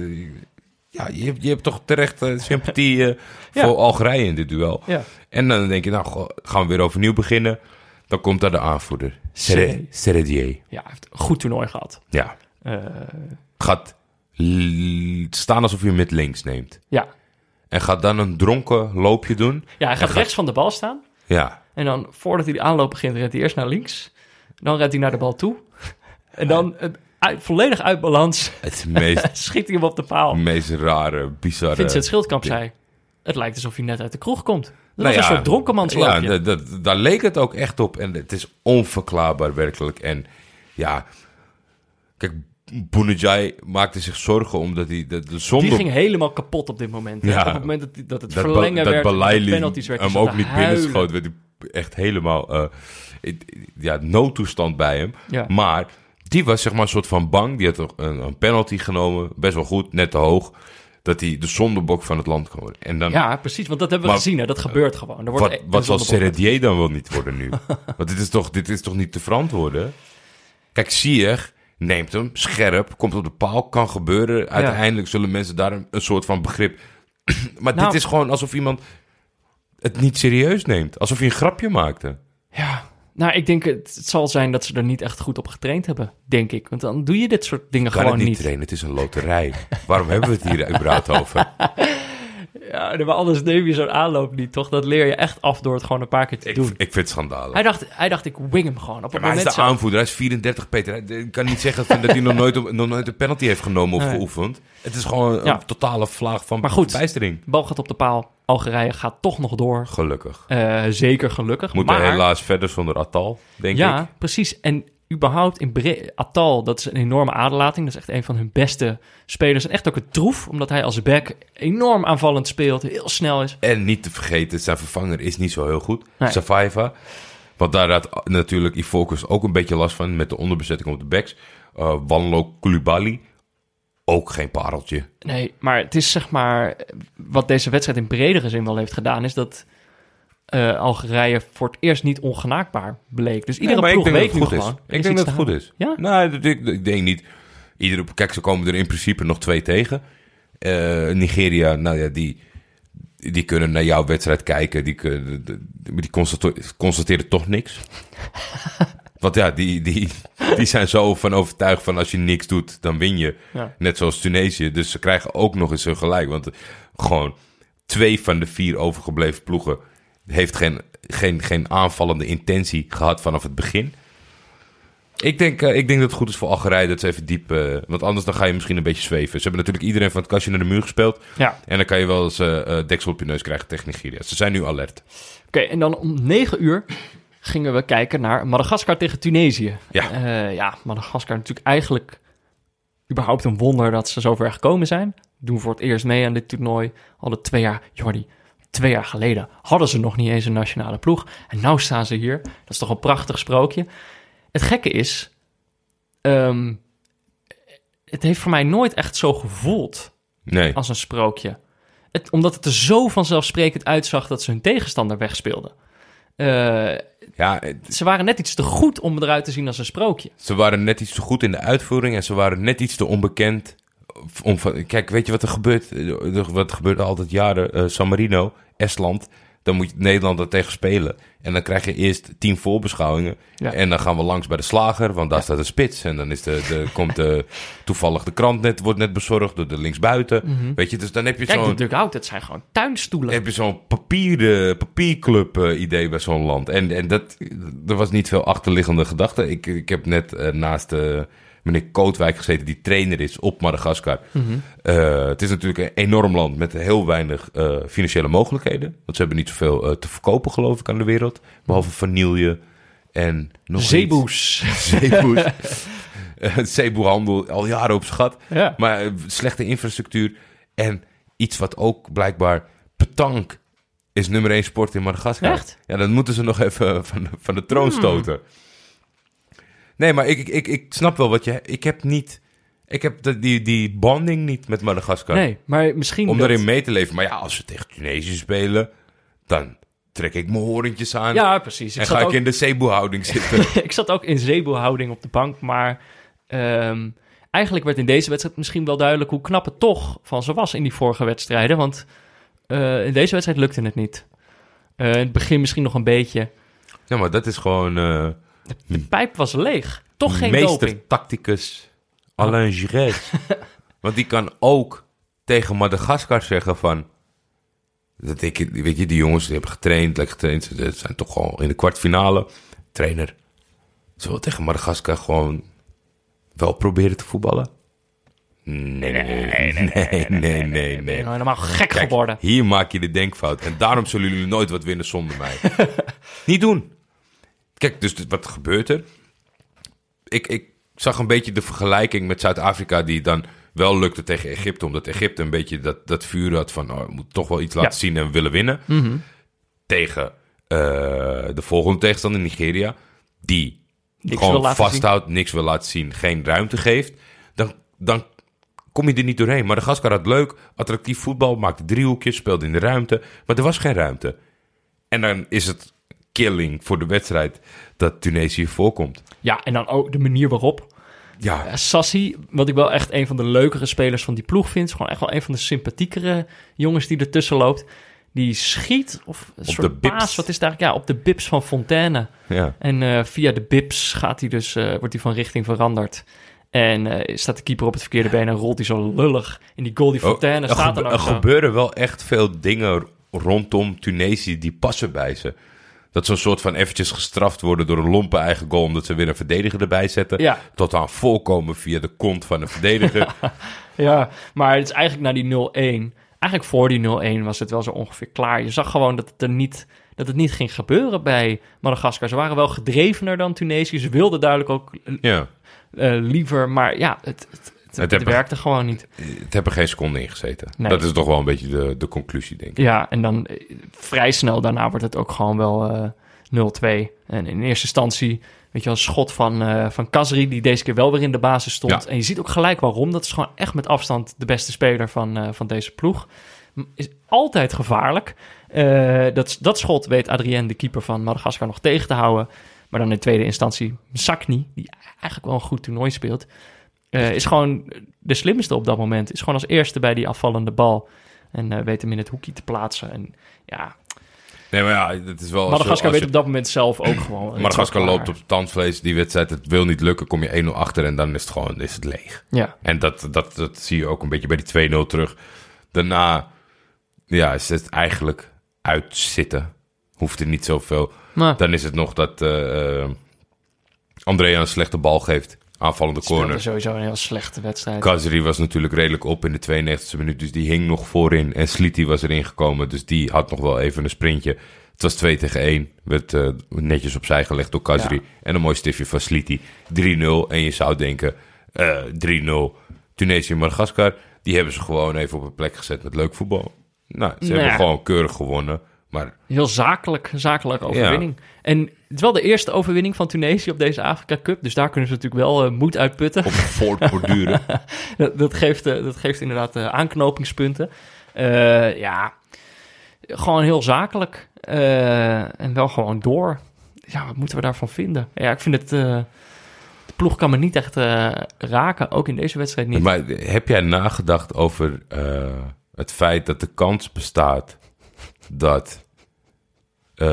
Ja, je, hebt- je hebt toch terecht eh, sympathie eh, Ja. voor Algerije in dit duel. Ja. En dan denk je, nou, goh, gaan we weer overnieuw beginnen. Dan komt daar de aanvoerder. Serre- Serre- Serredier. Ja, hij heeft een goed toernooi gehad. Ja. Eh, Gaat l- staan alsof je hem met links neemt. ja. En gaat dan een dronken loopje doen. ja, hij gaat gaat- rechts van de bal staan. Ja. En dan, voordat hij de aanloop begint, rent hij eerst naar links. Dan rent hij naar de bal toe. En dan, eh, uit- volledig uit balans, Het is het meest, schiet hij hem op de paal. meest rare, bizarre... Vincent Schildkamp zei... Het lijkt alsof hij net uit de kroeg komt. Dat was Nou een ja, soort dronkenmansloopje. Ja, dat- dat- daar leek het ook echt op. En het is onverklaarbaar werkelijk. En ja, Kijk, Bounedjai maakte zich zorgen omdat hij... De, de zonder... Die ging helemaal kapot op dit moment. hè. Ja. op het moment dat, die- dat het dat Ba- verlengen dat werd, Balaili de penalties werd, hem hij zat ook te niet huilen. binnenschoot. Werd hij echt helemaal... eh, het- ja, noodtoestand bij hem. Ja. Maar die was zeg maar een soort van bang. Die had toch een, een penalty genomen. Best wel goed, net te hoog. Dat hij de zondebok van het land kon worden. En dan, Ja, precies, want dat hebben we Maar- gezien. Hè. Dat gebeurt gewoon. Er wordt e- wat, echt een wat zal zondebok. Seredier dan wel niet worden nu? Want dit is toch, dit is toch niet te verantwoorden? Kijk, Sier neemt hem scherp, komt op de paal, kan gebeuren. Uiteindelijk zullen mensen daar een, een soort van begrip... maar Nou. dit is gewoon alsof iemand het niet serieus neemt. Alsof hij een grapje maakte. Ja, nou, ik denk het, het zal zijn dat ze er niet echt goed op getraind hebben, denk ik. Want dan doe je dit soort dingen Kan gewoon het niet, niet. trainen, het is een loterij. Waarom hebben we het hier überhaupt over? Ja, maar anders neem je zo'n aanloop niet, toch? Dat leer je echt af door het gewoon een paar keer te Ik, doen. ik vind het schandalig. Hij dacht, hij dacht, ik wing hem gewoon. Op het maar hij moment is de zo. aanvoerder, hij is 34, Peter. Hij- Ik kan niet zeggen van dat hij nog nooit, op- nog nooit een penalty heeft genomen of Nee. geoefend. Het is gewoon een Ja. totale vlaag van Maar goed. verbijstering. Bal gaat op de paal. Algerije gaat toch nog door. Gelukkig. Eh, zeker gelukkig. Moeten maar, helaas verder zonder Atal, denk Ja, ik. precies. En überhaupt in Bre Atal, dat is een enorme aderlating. Dat is echt een van hun beste spelers. En echt ook een troef, omdat hij als back enorm aanvallend speelt. Heel snel is. En niet te vergeten, zijn vervanger is niet zo heel goed. Nee. Savaiva. Want daar had natuurlijk Ivorcus ook een beetje last van met de onderbezetting op de backs. Eh Wanlo Kulubali, ook geen pareltje. Nee, maar het is zeg maar... eh, Wat deze wedstrijd in bredere zin wel heeft gedaan, is dat... eh, Algerije voor het eerst niet ongenaakbaar bleek. Dus iedere maar ik ploeg denk dat weet het nu goed is. gewoon. er Ik is denk iets dat te het goed halen. is. Ja? Nou, dat- ik, ik denk niet. Iedere, kijk, ze komen er in principe nog twee tegen. Eh, Nigeria, nou ja, die, die kunnen naar jouw wedstrijd kijken. Die, kunnen, de- de- die constato- constateren toch niks. Want ja, die, die, die zijn zo van overtuigd van als je niks doet, dan win je. Ja. Net zoals Tunesië. Dus ze krijgen ook nog eens hun gelijk. Want gewoon twee van de vier overgebleven ploegen heeft geen, geen, geen aanvallende intentie gehad vanaf het begin. Ik denk, eh, ik denk dat het goed is voor Algerije dat ze even diep... eh, want anders dan ga je misschien een beetje zweven. Ze hebben natuurlijk iedereen van het kastje naar de muur gespeeld. Ja. En dan kan je wel eens eh, eh, deksel op je neus krijgen tegen Nigeria. Ze zijn nu alert. Oké, en dan om 9 uur gingen we kijken naar Madagaskar tegen Tunesië. Ja. Eh, ja, Madagaskar natuurlijk eigenlijk überhaupt een wonder dat ze zover gekomen zijn. Doen voor het eerst mee aan dit toernooi. Al de twee jaar, Jordi, twee jaar geleden hadden ze nog niet eens een nationale ploeg. En nou staan ze hier. Dat is toch een prachtig sprookje. Het gekke is, ehm, het heeft voor mij nooit echt zo gevoeld Nee, als een sprookje. Het, omdat het er zo vanzelfsprekend uitzag dat ze hun tegenstander wegspeelden. Eh, ja, eh, ze waren net iets te goed om eruit te zien als een sprookje. ze waren net iets te goed in de uitvoering... en ze waren net iets te onbekend. Om van, kijk, weet je wat er gebeurt? Eh, er- Wat gebeurt er altijd jaren? Eh, San Marino, Estland... Dan moet je Nederland er tegen spelen. En dan krijg je eerst tien voorbeschouwingen. Ja. En dan gaan we langs bij de slager, want daar staat de spits. En dan is de, de, komt de, toevallig de krant net, wordt net bezorgd door de linksbuiten. Weet je, dus dan heb je Mhm. Kijk, de zo'n dugout, het zijn gewoon tuinstoelen. heb je zo'n papieren, papierclub eh, idee bij zo'n land. En, en dat, er was niet veel achterliggende gedachte. Ik, ik heb net eh, naast eh, meneer Kootwijk gezeten, die trainer is op Madagaskar. Eh, het is natuurlijk een enorm land met heel weinig eh, financiële mogelijkheden. Want ze hebben niet zoveel eh, te verkopen, geloof ik, aan de wereld. Behalve vanille en nog iets. Zeeboes. Zeeboes. Eh, Het zeeboehandel al jaren op schat. Ja. Maar eh, slechte infrastructuur. En iets wat ook blijkbaar petank is nummer één sport in Madagaskar. Echt? Hmm. Ja, dat moeten ze nog even van, de- van de troon stoten. Nee, maar ik, ik, ik, ik snap wel wat je... Ik heb niet... Ik heb de- die, die bonding niet met Madagaskar. Nee, maar misschien... om dat- daarin mee te leven. Maar ja, als ze tegen Tunesië spelen... dan trek ik mijn horentjes aan... Ja, precies. Ik en zat, ga ik ook, in de zeeboehouding zitten. ik zat ook in zeeboehouding op de bank, maar... ehm, eigenlijk werd in deze wedstrijd misschien wel duidelijk hoe knap het toch van ze was in die vorige wedstrijden. Want eh, in deze wedstrijd lukte het niet. Eh, in het begin misschien nog een beetje. ja, maar dat is gewoon... eh, De pijp was leeg. Toch geen meester doping. tacticus Alain Giresse. Want die kan ook tegen Madagaskar zeggen van... Dat ik, weet je, die jongens die hebben getraind, lekker getraind. Ze- Ze zijn toch al in de kwartfinale. Trainer, zullen we tegen Madagaskar gewoon wel proberen te voetballen? Nee, nee, nee, nee, nee, nee. Ben je nou helemaal gek Kijk, geworden? hier maak je de denkfout. En daarom zullen jullie nooit wat winnen zonder mij. Niet doen. Kijk, dus wat gebeurt er? Ik, ik zag een beetje de vergelijking met Zuid-Afrika, die dan wel lukte tegen Egypte. Omdat Egypte een beetje dat, dat vuur had van, oh, we moeten toch wel iets laten Ja. zien en we willen winnen. Tegen eh, de volgende tegenstander, Nigeria, die Niks wil gewoon laten zien. vasthoudt, niks wil laten zien, geen ruimte geeft. Dan, dan kom je er niet doorheen. Maar de Gaskar had leuk, attractief voetbal, maakte driehoekjes, speelde in de ruimte. Maar er was geen ruimte. En dan is het killing voor de wedstrijd dat Tunesië voorkomt. Ja, en dan ook de manier waarop. Ja, Sassi, wat ik wel echt een van de leukere spelers van die ploeg vind. is Gewoon echt wel een van de sympathiekere jongens die ertussen loopt. Die schiet, of een soort de bips. paas, wat is daar? Ja, op de bips van Fontaine. ja. En eh, via de bips gaat hij dus, eh, wordt hij van richting veranderd. En eh, staat de keeper op het verkeerde been en rolt hij zo lullig. In die goal die Fontaine Oh, er staat gebe- er er dan. zo. gebeuren wel echt veel dingen rondom Tunesië die passen bij ze. Dat ze een soort van eventjes gestraft worden door een lompe eigen goal... omdat ze weer een verdediger erbij zetten. Ja. Tot aan volkomen via de kont van een verdediger. Ja, maar het is eigenlijk na die 0-1. Eigenlijk voor die 0-1 was het wel zo ongeveer klaar. Je zag gewoon dat het er niet, dat het niet ging gebeuren bij Madagaskar. Ze waren wel gedrevener dan Tunesië. Ze wilden duidelijk ook eh, ja. liever. Maar ja, het, het, het, het hebben- werkte gewoon niet. Het hebben geen seconde ingezeten. Nee. Dat is toch wel een beetje de, de conclusie, denk ik. Ja, en dan eh, vrij snel daarna wordt het ook gewoon wel eh 0-2. En in eerste instantie, weet je wel, een schot van, eh van Kazri... die deze keer wel weer in de basis stond. Ja. En je ziet ook gelijk waarom. Dat is gewoon echt met afstand de beste speler van, eh, van deze ploeg. M- Is altijd gevaarlijk. Eh, dat, dat schot weet Adrien, de keeper van Madagaskar, nog tegen te houden. Maar dan in tweede instantie Sakni, die eigenlijk wel een goed toernooi speelt... eh, is gewoon de slimste op dat moment. Is gewoon als eerste bij die afvallende bal. En eh, weet hem in het hoekje te plaatsen. En ja, Nee, maar ja, het is wel... Madagaskar als je- weet op dat moment zelf ook gewoon. het is Madagaskar wel loopt klaar. op tandvlees, die wedstrijd, het wil niet lukken, kom je 1-0 achter en dan is het gewoon is het leeg. Ja, En dat, dat, dat zie je ook een beetje bij die 2-0 terug. Daarna ja, is het eigenlijk uitzitten. Hoeft er niet zoveel. maar Dan is het nog dat eh eh, Andrea een slechte bal geeft. Aanvallende speelde corner. sowieso een heel slechte wedstrijd. Kazri was natuurlijk redelijk op in de 92e minuut, dus die hing nog voorin. En Sliti was erin gekomen, dus die had nog wel even een sprintje. Het was 2 tegen 1, werd eh, netjes opzij gelegd door Kazri. Ja. En een mooi stiftje van Sliti. 3-0. En je zou denken, eh 3-0. Tunesië en Madagaskar, die hebben ze gewoon even op een plek gezet met leuk voetbal. Nou, ze Nou hebben ja. gewoon keurig gewonnen. Maar Heel zakelijk, zakelijke overwinning. En het is wel de eerste overwinning van Tunesië op deze Afrika Cup. Dus daar kunnen ze natuurlijk wel eh, moed uitputten. op voortborduren. dat, dat, geeft, eh, dat geeft inderdaad eh, aanknopingspunten. Eh, ja, gewoon heel zakelijk. eh, en wel gewoon door. Ja, wat moeten we daarvan vinden? Ja, ik vind het... eh, de ploeg kan me niet echt eh, raken. Ook in deze wedstrijd niet. Maar heb jij nagedacht over eh, het feit dat de kans bestaat dat eh,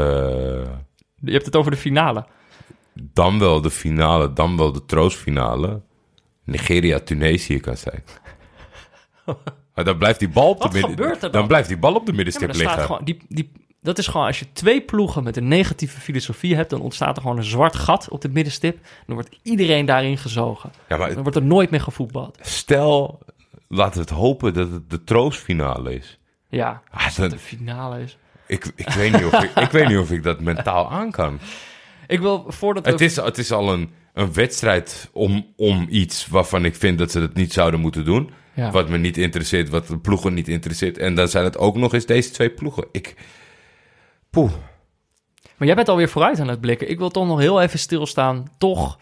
Je hebt het over de finale. dan wel de finale, dan wel de troostfinale Nigeria-Tunesië kan zijn? Maar dan blijft die bal op Wat de midden, gebeurt er dan? blijft die bal op de Ja, maar middenstip dan staat liggen. gewoon, die, die, dat is gewoon, als je twee ploegen met een negatieve filosofie hebt, dan ontstaat er gewoon een zwart gat op de middenstip. Dan wordt iedereen daarin gezogen. Ja, maar Dan wordt er nooit meer gevoetbald. stel, laten we het hopen dat het de troostfinale is. Ja, Ah, dan- de finale is. ik, ik, weet niet of ik, ik weet niet of ik dat mentaal aan kan. Ik wil voordat Het we is, het is al een, een wedstrijd om, om iets waarvan ik vind dat ze dat niet zouden moeten doen. Ja. Wat me niet interesseert, wat de ploegen niet interesseert. En dan zijn het ook nog eens deze twee ploegen. Ik, poeh. Maar jij bent alweer vooruit aan het blikken. Ik wil toch nog heel even stilstaan, toch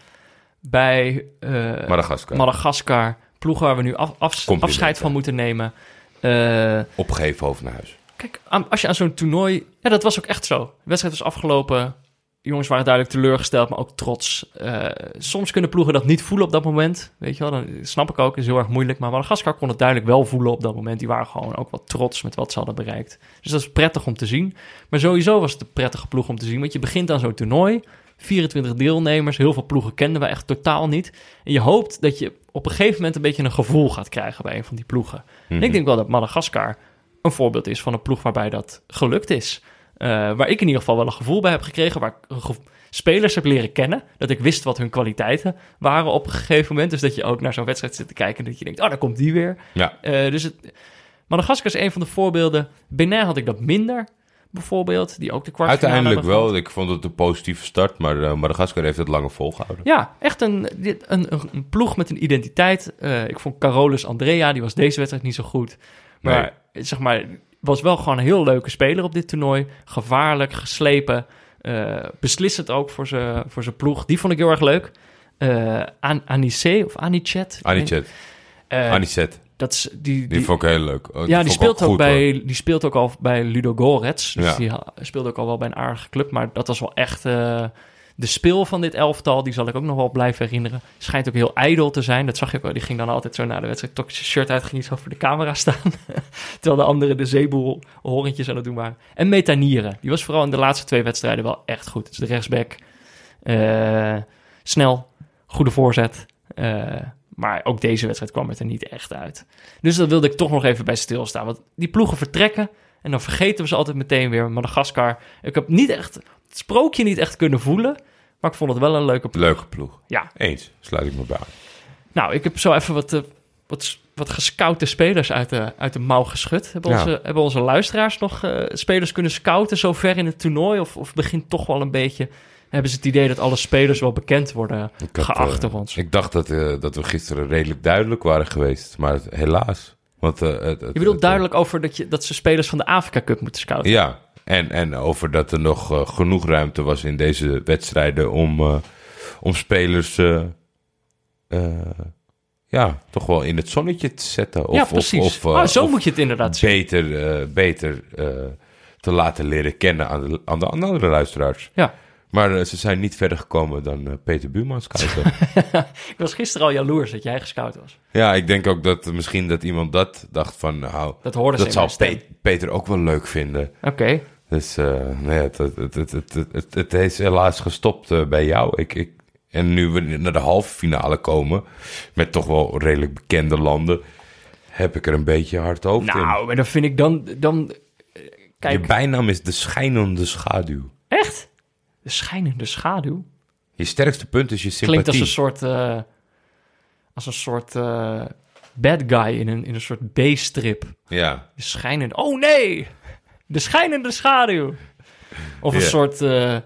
bij eh, Madagaskar. Madagaskar, ploegen waar we nu af, afs- Complimenten. afscheid van moeten nemen. Eh, Opgeven hoofd naar huis. Kijk, aan- als je aan zo'n toernooi... Ja, dat was ook echt zo. De wedstrijd was afgelopen. De jongens waren duidelijk teleurgesteld, maar ook trots. Eh, soms kunnen ploegen dat niet voelen op dat moment. Weet je wel, dan snap ik ook. is heel erg moeilijk. Maar Madagaskar kon het duidelijk wel voelen op dat moment. Die waren gewoon ook wat trots met wat ze hadden bereikt. Dus dat is prettig om te zien. Maar sowieso was het een prettige ploeg om te zien. Want je begint aan zo'n toernooi. 24 deelnemers. Heel veel ploegen kenden we echt totaal niet. En je hoopt dat je op een gegeven moment een beetje een gevoel gaat krijgen bij een van die ploegen. En ik denk wel dat Madagaskar een voorbeeld is van een ploeg waarbij dat gelukt is. Eh, waar ik in ieder geval wel een gevoel bij heb gekregen, waar ik een ge- spelers heb leren kennen, dat ik wist wat hun kwaliteiten waren op een gegeven moment. Dus dat je ook naar zo'n wedstrijd zit te kijken en dat je denkt, oh, daar komt die weer. Ja, Eh, dus het, Madagaskar is een van de voorbeelden. Benin had ik dat minder. bijvoorbeeld, die ook de kwartfinale Uiteindelijk hebben gehad. wel. Ik vond het een positieve start, maar eh, Madagaskar heeft het langer volgehouden. Ja, echt een, dit- een, een ploeg met een identiteit. Eh, ik vond Carolus Andrea, die was deze wedstrijd niet zo goed. Maar zeg maar, was wel gewoon een heel leuke speler op dit toernooi. Gevaarlijk, geslepen, eh, beslissend ook voor zijn voor zijn ploeg. Die vond ik heel erg leuk. Eh An Anice of Anichet. Anicet, Eh, Anicet, dat is, die, die die, vond ik heel leuk. Oh, ja, vond die ik speelt, ook goed, hoor. bij, die speelt ook al bij Ludo Gorets. Dus Ja. die ha- speelde ook al wel bij een aardige club. Maar dat was wel echt eh, de speel van dit elftal. Die zal ik ook nog wel blijven herinneren. Schijnt ook heel ijdel te zijn. Dat zag je ook wel. Die ging dan altijd zo naar de wedstrijd. Tok zijn shirt uit, ging niet zo voor de camera staan. Terwijl de anderen de zeeboel horentjes aan het doen waren. En Metanieren. Die was vooral in de laatste twee wedstrijden wel echt goed. Dus de rechtsback. eh, snel. Goede voorzet. eh, maar ook deze wedstrijd kwam het er niet echt uit. Dus dat wilde ik toch nog even bij stilstaan. Want die ploegen vertrekken en dan vergeten we ze altijd meteen weer. Madagaskar. Ik heb niet echt het sprookje niet echt kunnen voelen. Maar ik vond het wel een leuke ploeg. Leuke ploeg. Ja. Eens, sluit ik me bij aan. Nou, ik heb zo even wat, eh, wat, wat gescoute spelers uit de, uit de mouw geschud. Hebben, Ja. onze, hebben onze luisteraars nog eh, spelers kunnen scouten zo ver in het toernooi? Of, of begint toch wel een beetje... Hebben ze het idee dat alle spelers wel bekend worden Ik had, geacht eh, door ons? Ik dacht dat, eh, dat we gisteren redelijk duidelijk waren geweest, maar het- helaas. Want, eh, het, Je bedoelt duidelijk over dat, je, dat ze spelers van de Afrika Cup moeten scouten? Ja, en, en over dat er nog eh, genoeg ruimte was in deze wedstrijden om, eh, om spelers eh, eh, ja, toch wel in het zonnetje te zetten. Of, ja, precies. Of, of, eh, Ah, zo of moet je het inderdaad zien. beter, eh, beter eh, te laten leren kennen aan de, aan de andere luisteraars. Ja. Maar eh, ze zijn niet verder gekomen dan eh, Peter Buurmans kijken. Ik was gisteren al jaloers dat jij gescout was. Ja, ik denk ook dat misschien dat iemand dat dacht van, nou, Dat hoorde ze dat in zou mijn stem. Pe- Peter ook wel leuk vinden. Oké. Dus eh, nee, het, het, het, het, het, het- het is helaas gestopt eh, bij jou. Ik, ik, en nu we naar de halve finale komen, met toch wel redelijk bekende landen, heb ik er een beetje hard hoofd Nou, maar dan vind ik dan... dan eh, in. kijk, Je bijnaam is de schijnende schaduw. echt? De schijnende schaduw? Je sterkste punt is je sympathie. Klinkt als een soort... eh, als een soort eh, bad guy in een, in een soort B-strip. Ja, De schijnende... Oh nee! De schijnende schaduw! Of een Ja. soort eh,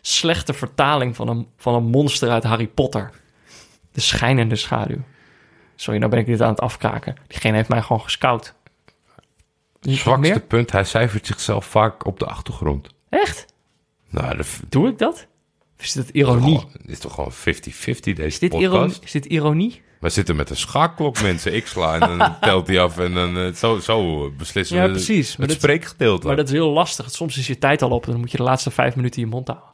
slechte vertaling van een, van een monster uit Harry Potter. De schijnende schaduw. Sorry, nou ben ik dit aan het afkraken. Diegene heeft mij gewoon gescout. Is er nog zwakste meer? punt. Hij cijfert zichzelf vaak op de achtergrond. Echt? Nou, dat is Doe ik dat? Of is dit ironie? toch gewoon- is toch gewoon 50-50 deze Oh, Is dit, podcast? ironie? is dit ironie? We zitten met een schaakklok, mensen. Ik sla en dan telt hij af en dan eh, zo, zo beslissen Ja, we precies. Maar het dat- spreekgedeelte. Maar dat is heel lastig. Soms is je tijd al op en dan moet je de laatste vijf minuten in je mond houden.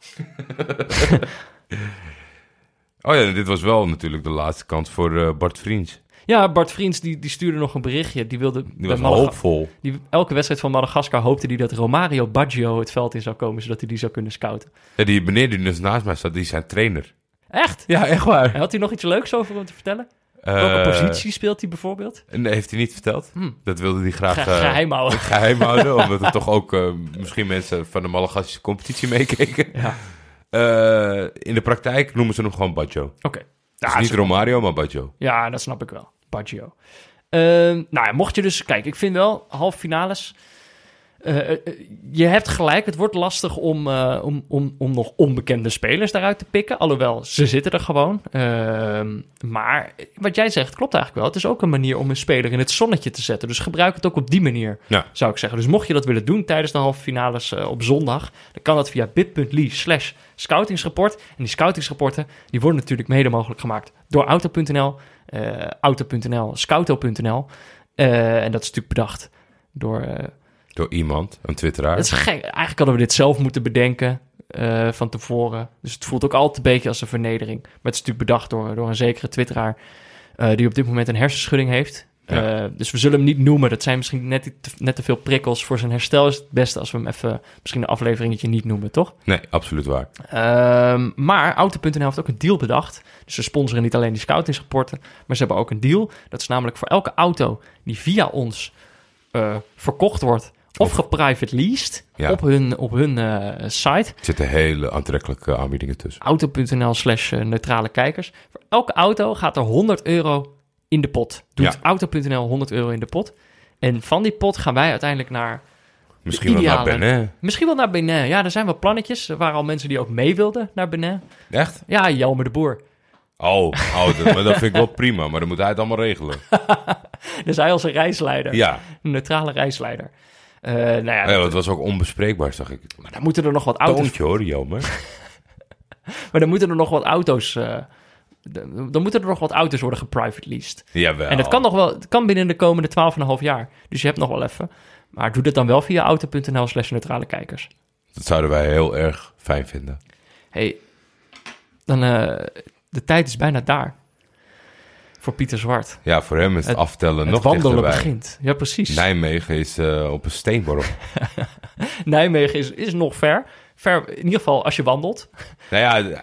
Oh ja, dit was wel natuurlijk de laatste kans voor eh, Bart Vriends. Ja, Bart Vriends die, die stuurde nog een berichtje. Die wilde bij Die was Malaga- hoopvol. die, elke wedstrijd van Madagaskar hoopte hij dat Romario Baggio het veld in zou komen, zodat hij die zou kunnen scouten. Ja, die meneer die dus naast mij zat, die is zijn trainer. Echt? Ja, echt waar. En had hij nog iets leuks over om te vertellen? Welke positie speelt hij bijvoorbeeld? Nee, Eh, heeft hij niet verteld. Dat wilde hij graag Ge- eh, geheim houden. geheim houden. omdat er toch ook eh, misschien mensen van de Malagasische competitie meekeken. Ja. Eh, in de praktijk noemen ze hem gewoon Baggio. Oké. Dus Ja, niet ze- Romario, maar Baggio. Ja, dat snap ik wel. Baggio. Ehm, nou ja, mocht je dus... Kijk, ik vind wel halve finales... eh, eh, je hebt gelijk, het wordt lastig om, eh, om, om, om nog onbekende spelers daaruit te pikken. Alhoewel, ze zitten er gewoon. Ehm, maar wat jij zegt klopt eigenlijk wel. Het is ook een manier om een speler in het zonnetje te zetten. Dus gebruik het ook op die manier, Ja. zou ik zeggen. Dus mocht je dat willen doen tijdens de halve finales eh, op zondag... dan kan dat via bit.ly slash scoutingsrapport. En die scoutingsrapporten die worden natuurlijk mede mogelijk gemaakt door auto.nl eh, auto.nl, scouto.nl. Eh, en dat is natuurlijk bedacht door... eh, Door iemand, een twitteraar. het is gek. Eigenlijk hadden we dit zelf moeten bedenken eh, van tevoren. Dus het voelt ook altijd een beetje als een vernedering. Maar het is natuurlijk bedacht door, door een zekere twitteraar... eh, die op dit moment een hersenschudding heeft. Ja. Eh, dus we zullen hem niet noemen. Dat zijn misschien net, die te- net te veel prikkels. Voor zijn herstel is het beste als we hem even... misschien een afleveringetje niet noemen, toch? Nee, absoluut waar. Ehm, maar Auto.nl heeft ook een deal bedacht. Dus ze sponsoren niet alleen die scoutingsrapporten, maar ze hebben ook een deal. Dat is namelijk voor elke auto die via ons eh, verkocht wordt of geprivate leased Ja. op hun, op hun eh, site, Er zitten hele aantrekkelijke aanbiedingen tussen. auto.nl slash eh, neutrale kijkers. Voor elke auto gaat er 100 euro in de pot. Doet Ja. auto.nl 100 euro in de pot. En van die pot gaan wij uiteindelijk naar Misschien wel naar ideale. Benin. Misschien wel naar Benin. Ja, er zijn wel plannetjes. Er waren al mensen die ook mee wilden naar Benin. Echt? Ja, Jelmer de Boer. Oh, oh dat, maar dat vind ik wel prima, maar dan moet hij het allemaal regelen. Dus hij als een reisleider. Ja, Een neutrale reisleider. Eh, nou ja, ja dat was ook onbespreekbaar, zag ik. Maar daar moeten er nog wat dat auto's... toontje hoor, jammer. Maar dan moeten er nog wat auto's... eh, de- dan moeten er nog wat auto's worden geprivate leased. Jawel. En dat kan nog wel, het kan binnen de komende 12,5 jaar. Dus je hebt nog wel even. Maar doe dat dan wel via auto.nl slash neutrale kijkers. Dat zouden wij heel erg fijn vinden. hey, dan, eh, de tijd is bijna daar. Voor Pieter Zwart. Ja, voor hem is het, Het- aftellen nog het wandelen dichterbij. begint. Ja, precies. Nijmegen is eh, op een steenworp. Nijmegen is, is nog ver. ver. In ieder geval als je wandelt. nou ja,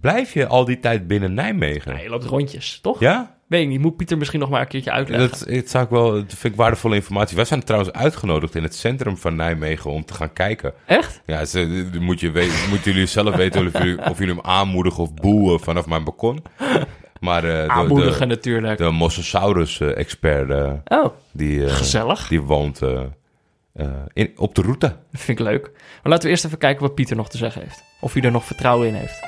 blijf je al die tijd binnen Nijmegen? Ja, je loopt rondjes, toch? Ja? Weet ik niet, moet Pieter misschien nog maar een keertje uitleggen. Dat, dat, zou ik wel, dat vind ik waardevolle informatie. Wij zijn trouwens uitgenodigd in het centrum van Nijmegen om te gaan kijken. Echt? Ja, ze, dan moet je weten, moeten jullie zelf weten of jullie, of jullie hem aanmoedigen of boeien vanaf mijn balkon. Maar eh, Aanmoedigen de, natuurlijk. de, de Mosasaurus-expert Oh, die, eh, gezellig. die woont eh, eh, in, op de route. Dat vind ik leuk. Maar laten we eerst even kijken wat Pieter nog te zeggen heeft. Of hij er nog vertrouwen in heeft.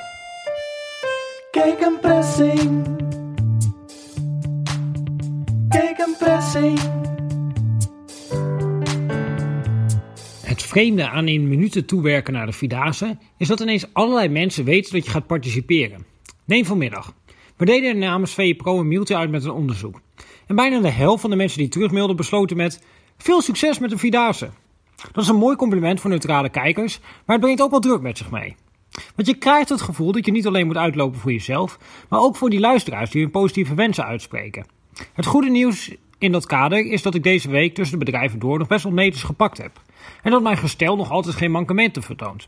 Gegenpressing. Gegenpressing. Het vreemde aan in minuten toewerken naar de Vierdaagse is dat ineens allerlei mensen weten dat je gaat participeren. Neem vanmiddag. We deden er namens E VPRO een mailtje uit met een onderzoek. En bijna de helft van de mensen die terugmailden besloten met veel succes met de Vierdaagse. Dat is een mooi compliment voor neutrale kijkers, maar het brengt ook wel druk met zich mee. Want je krijgt het gevoel dat je niet alleen moet uitlopen voor jezelf, maar ook voor die luisteraars die hun positieve wensen uitspreken. Het goede nieuws in dat kader is dat ik deze week tussen de bedrijven door nog best wel meters gepakt heb. En dat mijn gestel nog altijd geen mankementen vertoont.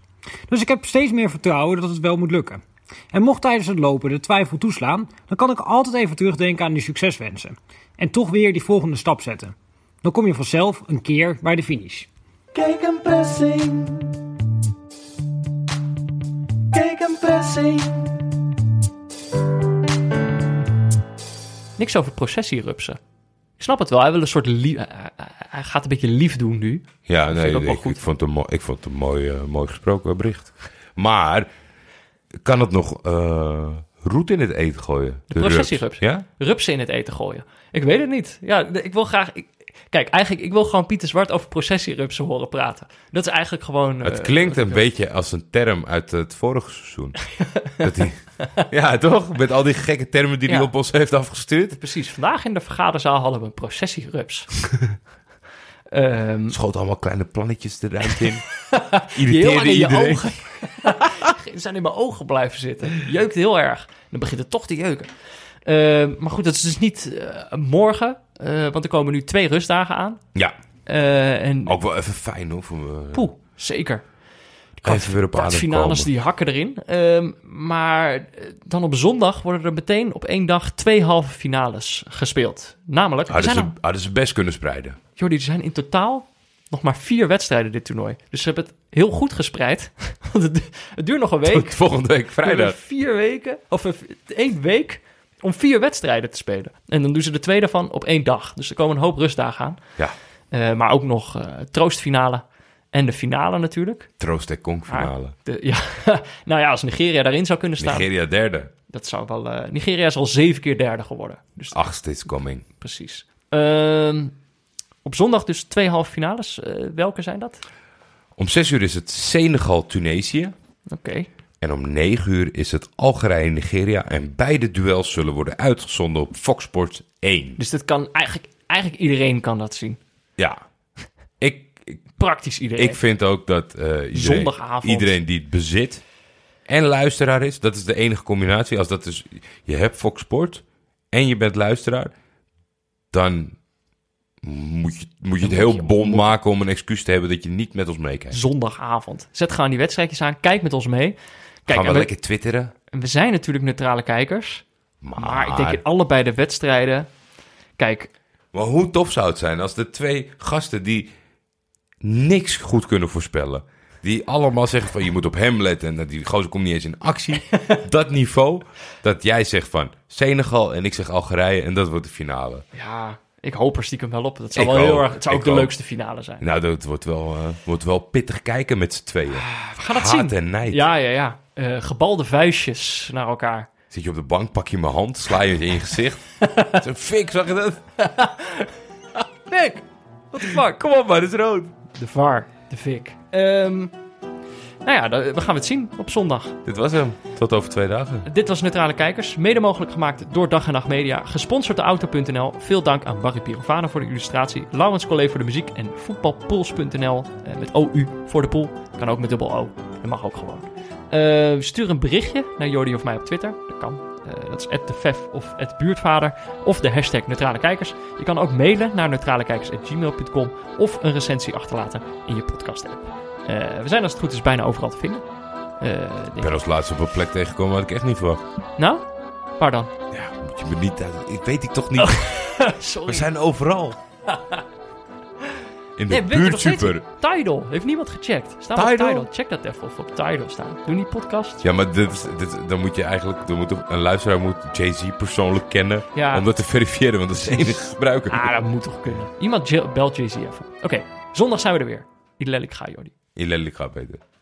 Dus ik heb steeds meer vertrouwen dat het wel moet lukken. En mocht tijdens het lopen de twijfel toeslaan, dan kan ik altijd even terugdenken aan die succeswensen. En toch weer die volgende stap zetten. Dan kom je vanzelf een keer bij de finish. Gegenpressing. Gegenpressing. Niks over processierupsen. Ik snap het wel. Hij wil een soort lief... Hij gaat een beetje lief doen nu. Ja, ik nee, ook wel ik, goed. ik vond het een, mooi- ik vond het een mooi, eh, mooi gesproken bericht. Maar kan het nog eh, roet in het eten gooien? De, processierups? Ja? Rupsen in het eten gooien. Ik weet het niet. Ja, de- ik wil graag... ik- kijk, eigenlijk, ik wil gewoon Pieter Zwart over processierupsen horen praten. Dat is eigenlijk gewoon... eh, Het klinkt een beetje als een term uit het vorige seizoen. Dat die, ja, toch? Met al die gekke termen die hij Ja. op ons heeft afgestuurd. Precies. Vandaag in de vergaderzaal hadden we een processierups. Ehm Schoot allemaal kleine plannetjes de ruimte in. die heel lang Irriteerde in je iedereen. ogen... Die zijn in mijn ogen blijven zitten. Jeukt heel erg. Dan begint het toch te jeuken. Ehm, maar goed, dat is dus niet eh, morgen. eh, want er komen nu twee rustdagen aan. Ja, Eh, en ook wel even fijn hoor. Voor me. poeh, zeker. even weer op adem Kwartfinales, komen. die hakken erin. Ehm, maar eh, dan op zondag worden er meteen op één dag twee halve finales gespeeld. Namelijk, er Hadden, zijn ze, al, hadden ze best kunnen spreiden. Jordi, er zijn in totaal nog maar vier wedstrijden dit toernooi. Dus ze hebben het heel goed gespreid. Want het, du- het duurt nog een week. Tot volgende week We hebben vrijdag. Vier weken, of eh, één week om vier wedstrijden te spelen. En dan doen ze de tweede van op één dag. Dus er komen een hoop rustdagen aan. Ja, Eh, maar ook nog eh, troostfinale en de finale natuurlijk. troost en Maar konkfinale. de- ja, nou ja, als Nigeria daarin zou kunnen staan, Nigeria derde. dat zou wel. eh, Nigeria is al zeven keer derde geworden. Dus Achtste is coming. precies. Ehm, op zondag dus twee halve finales. Eh, welke zijn dat? Om 6 uur is het Senegal-Tunesië. Oké. En om 9 uur is het Algerije-Nigeria. En beide duels zullen worden uitgezonden op Fox Sports 1. Dus dat kan eigenlijk, eigenlijk iedereen kan dat zien. Ja, ik, ik, Praktisch iedereen. ik vind ook dat eh, iedereen, Zondagavond. iedereen die het bezit en luisteraar is, dat is de enige combinatie. Als dat is, je hebt Fox Sport en je bent luisteraar, dan moet je, moet je het heel bond maken om een excuus te hebben dat je niet met ons meekijkt. Zondagavond. Zet gewoon die wedstrijdjes aan. Kijk met ons mee. Kijk, Gaan we en we, lekker twitteren? en we zijn natuurlijk neutrale kijkers. Maar, Maar ik denk in allebei de wedstrijden. Kijk, Maar hoe tof zou het zijn als de twee gasten die niks goed kunnen voorspellen. Die allemaal zeggen van je moet op hem letten en dat die gozer komt niet eens in actie. dat niveau, dat jij zegt van Senegal en ik zeg Algerije en dat wordt de finale. ja, Ik hoop er stiekem wel op. Dat zou Ik wel heel ook. erg. Het zou ook Ik de ook. leukste finale zijn. Nou, dat wordt wel, eh, wordt wel pittig kijken met z'n tweeën. We gaan Ah, het Haat zien. en nijd. Ja, ja, ja. Eh, gebalde vuistjes naar elkaar. Zit je op de bank, pak je mijn hand, sla je in je gezicht. Het is een fik, zag je dat? Nick, what the fuck? Kom op, maar het is rood. De VAR, de Vic. Ehm, nou ja, da- we gaan het zien op zondag. Dit was hem. Tot over twee dagen. Dit was Neutrale Kijkers, mede mogelijk gemaakt door Dag en Nacht Media, gesponsord door Auto.nl. Veel dank aan Barry Pirovano voor de illustratie, Laurens Collé voor de muziek en voetbalpools.nl eh, met OU voor de pool. Kan ook met dubbel O, dat mag ook gewoon. Eh, stuur een berichtje naar Jordi of mij op Twitter, dat kan. Eh, dat is @defef of @buurtvader of de hashtag Neutrale Kijkers. Je kan ook mailen naar neutralekijkers.gmail.com of een recensie achterlaten in je podcast app. Eh, we zijn als het goed is bijna overal te vinden. Eh, Ik denk ben ik. als laatste op een plek tegengekomen waar ik echt niet verwacht. Nou, waar dan? Ja, moet je me niet... Ik weet ik toch niet. Oh, Sorry. We zijn overal. In de Nee, weet je nog steeds buurtsuper. niet? Tidal. Heeft niemand gecheckt. Staat op Tidal? Tidal. Check dat even of op Tidal staan. Doe die podcast. Ja, maar dit, is- dit- dan moet je eigenlijk... Dan moet een een luisteraar moet Jay-Z persoonlijk kennen... Ja. om dat te verifiëren, want dat is de enige gebruiker. Ah, dat moet toch kunnen. Iemand je- belt Jay-Z even. Oké, zondag zijn we er weer. Ilelic ga, Jordi. In lelijk gaat beter.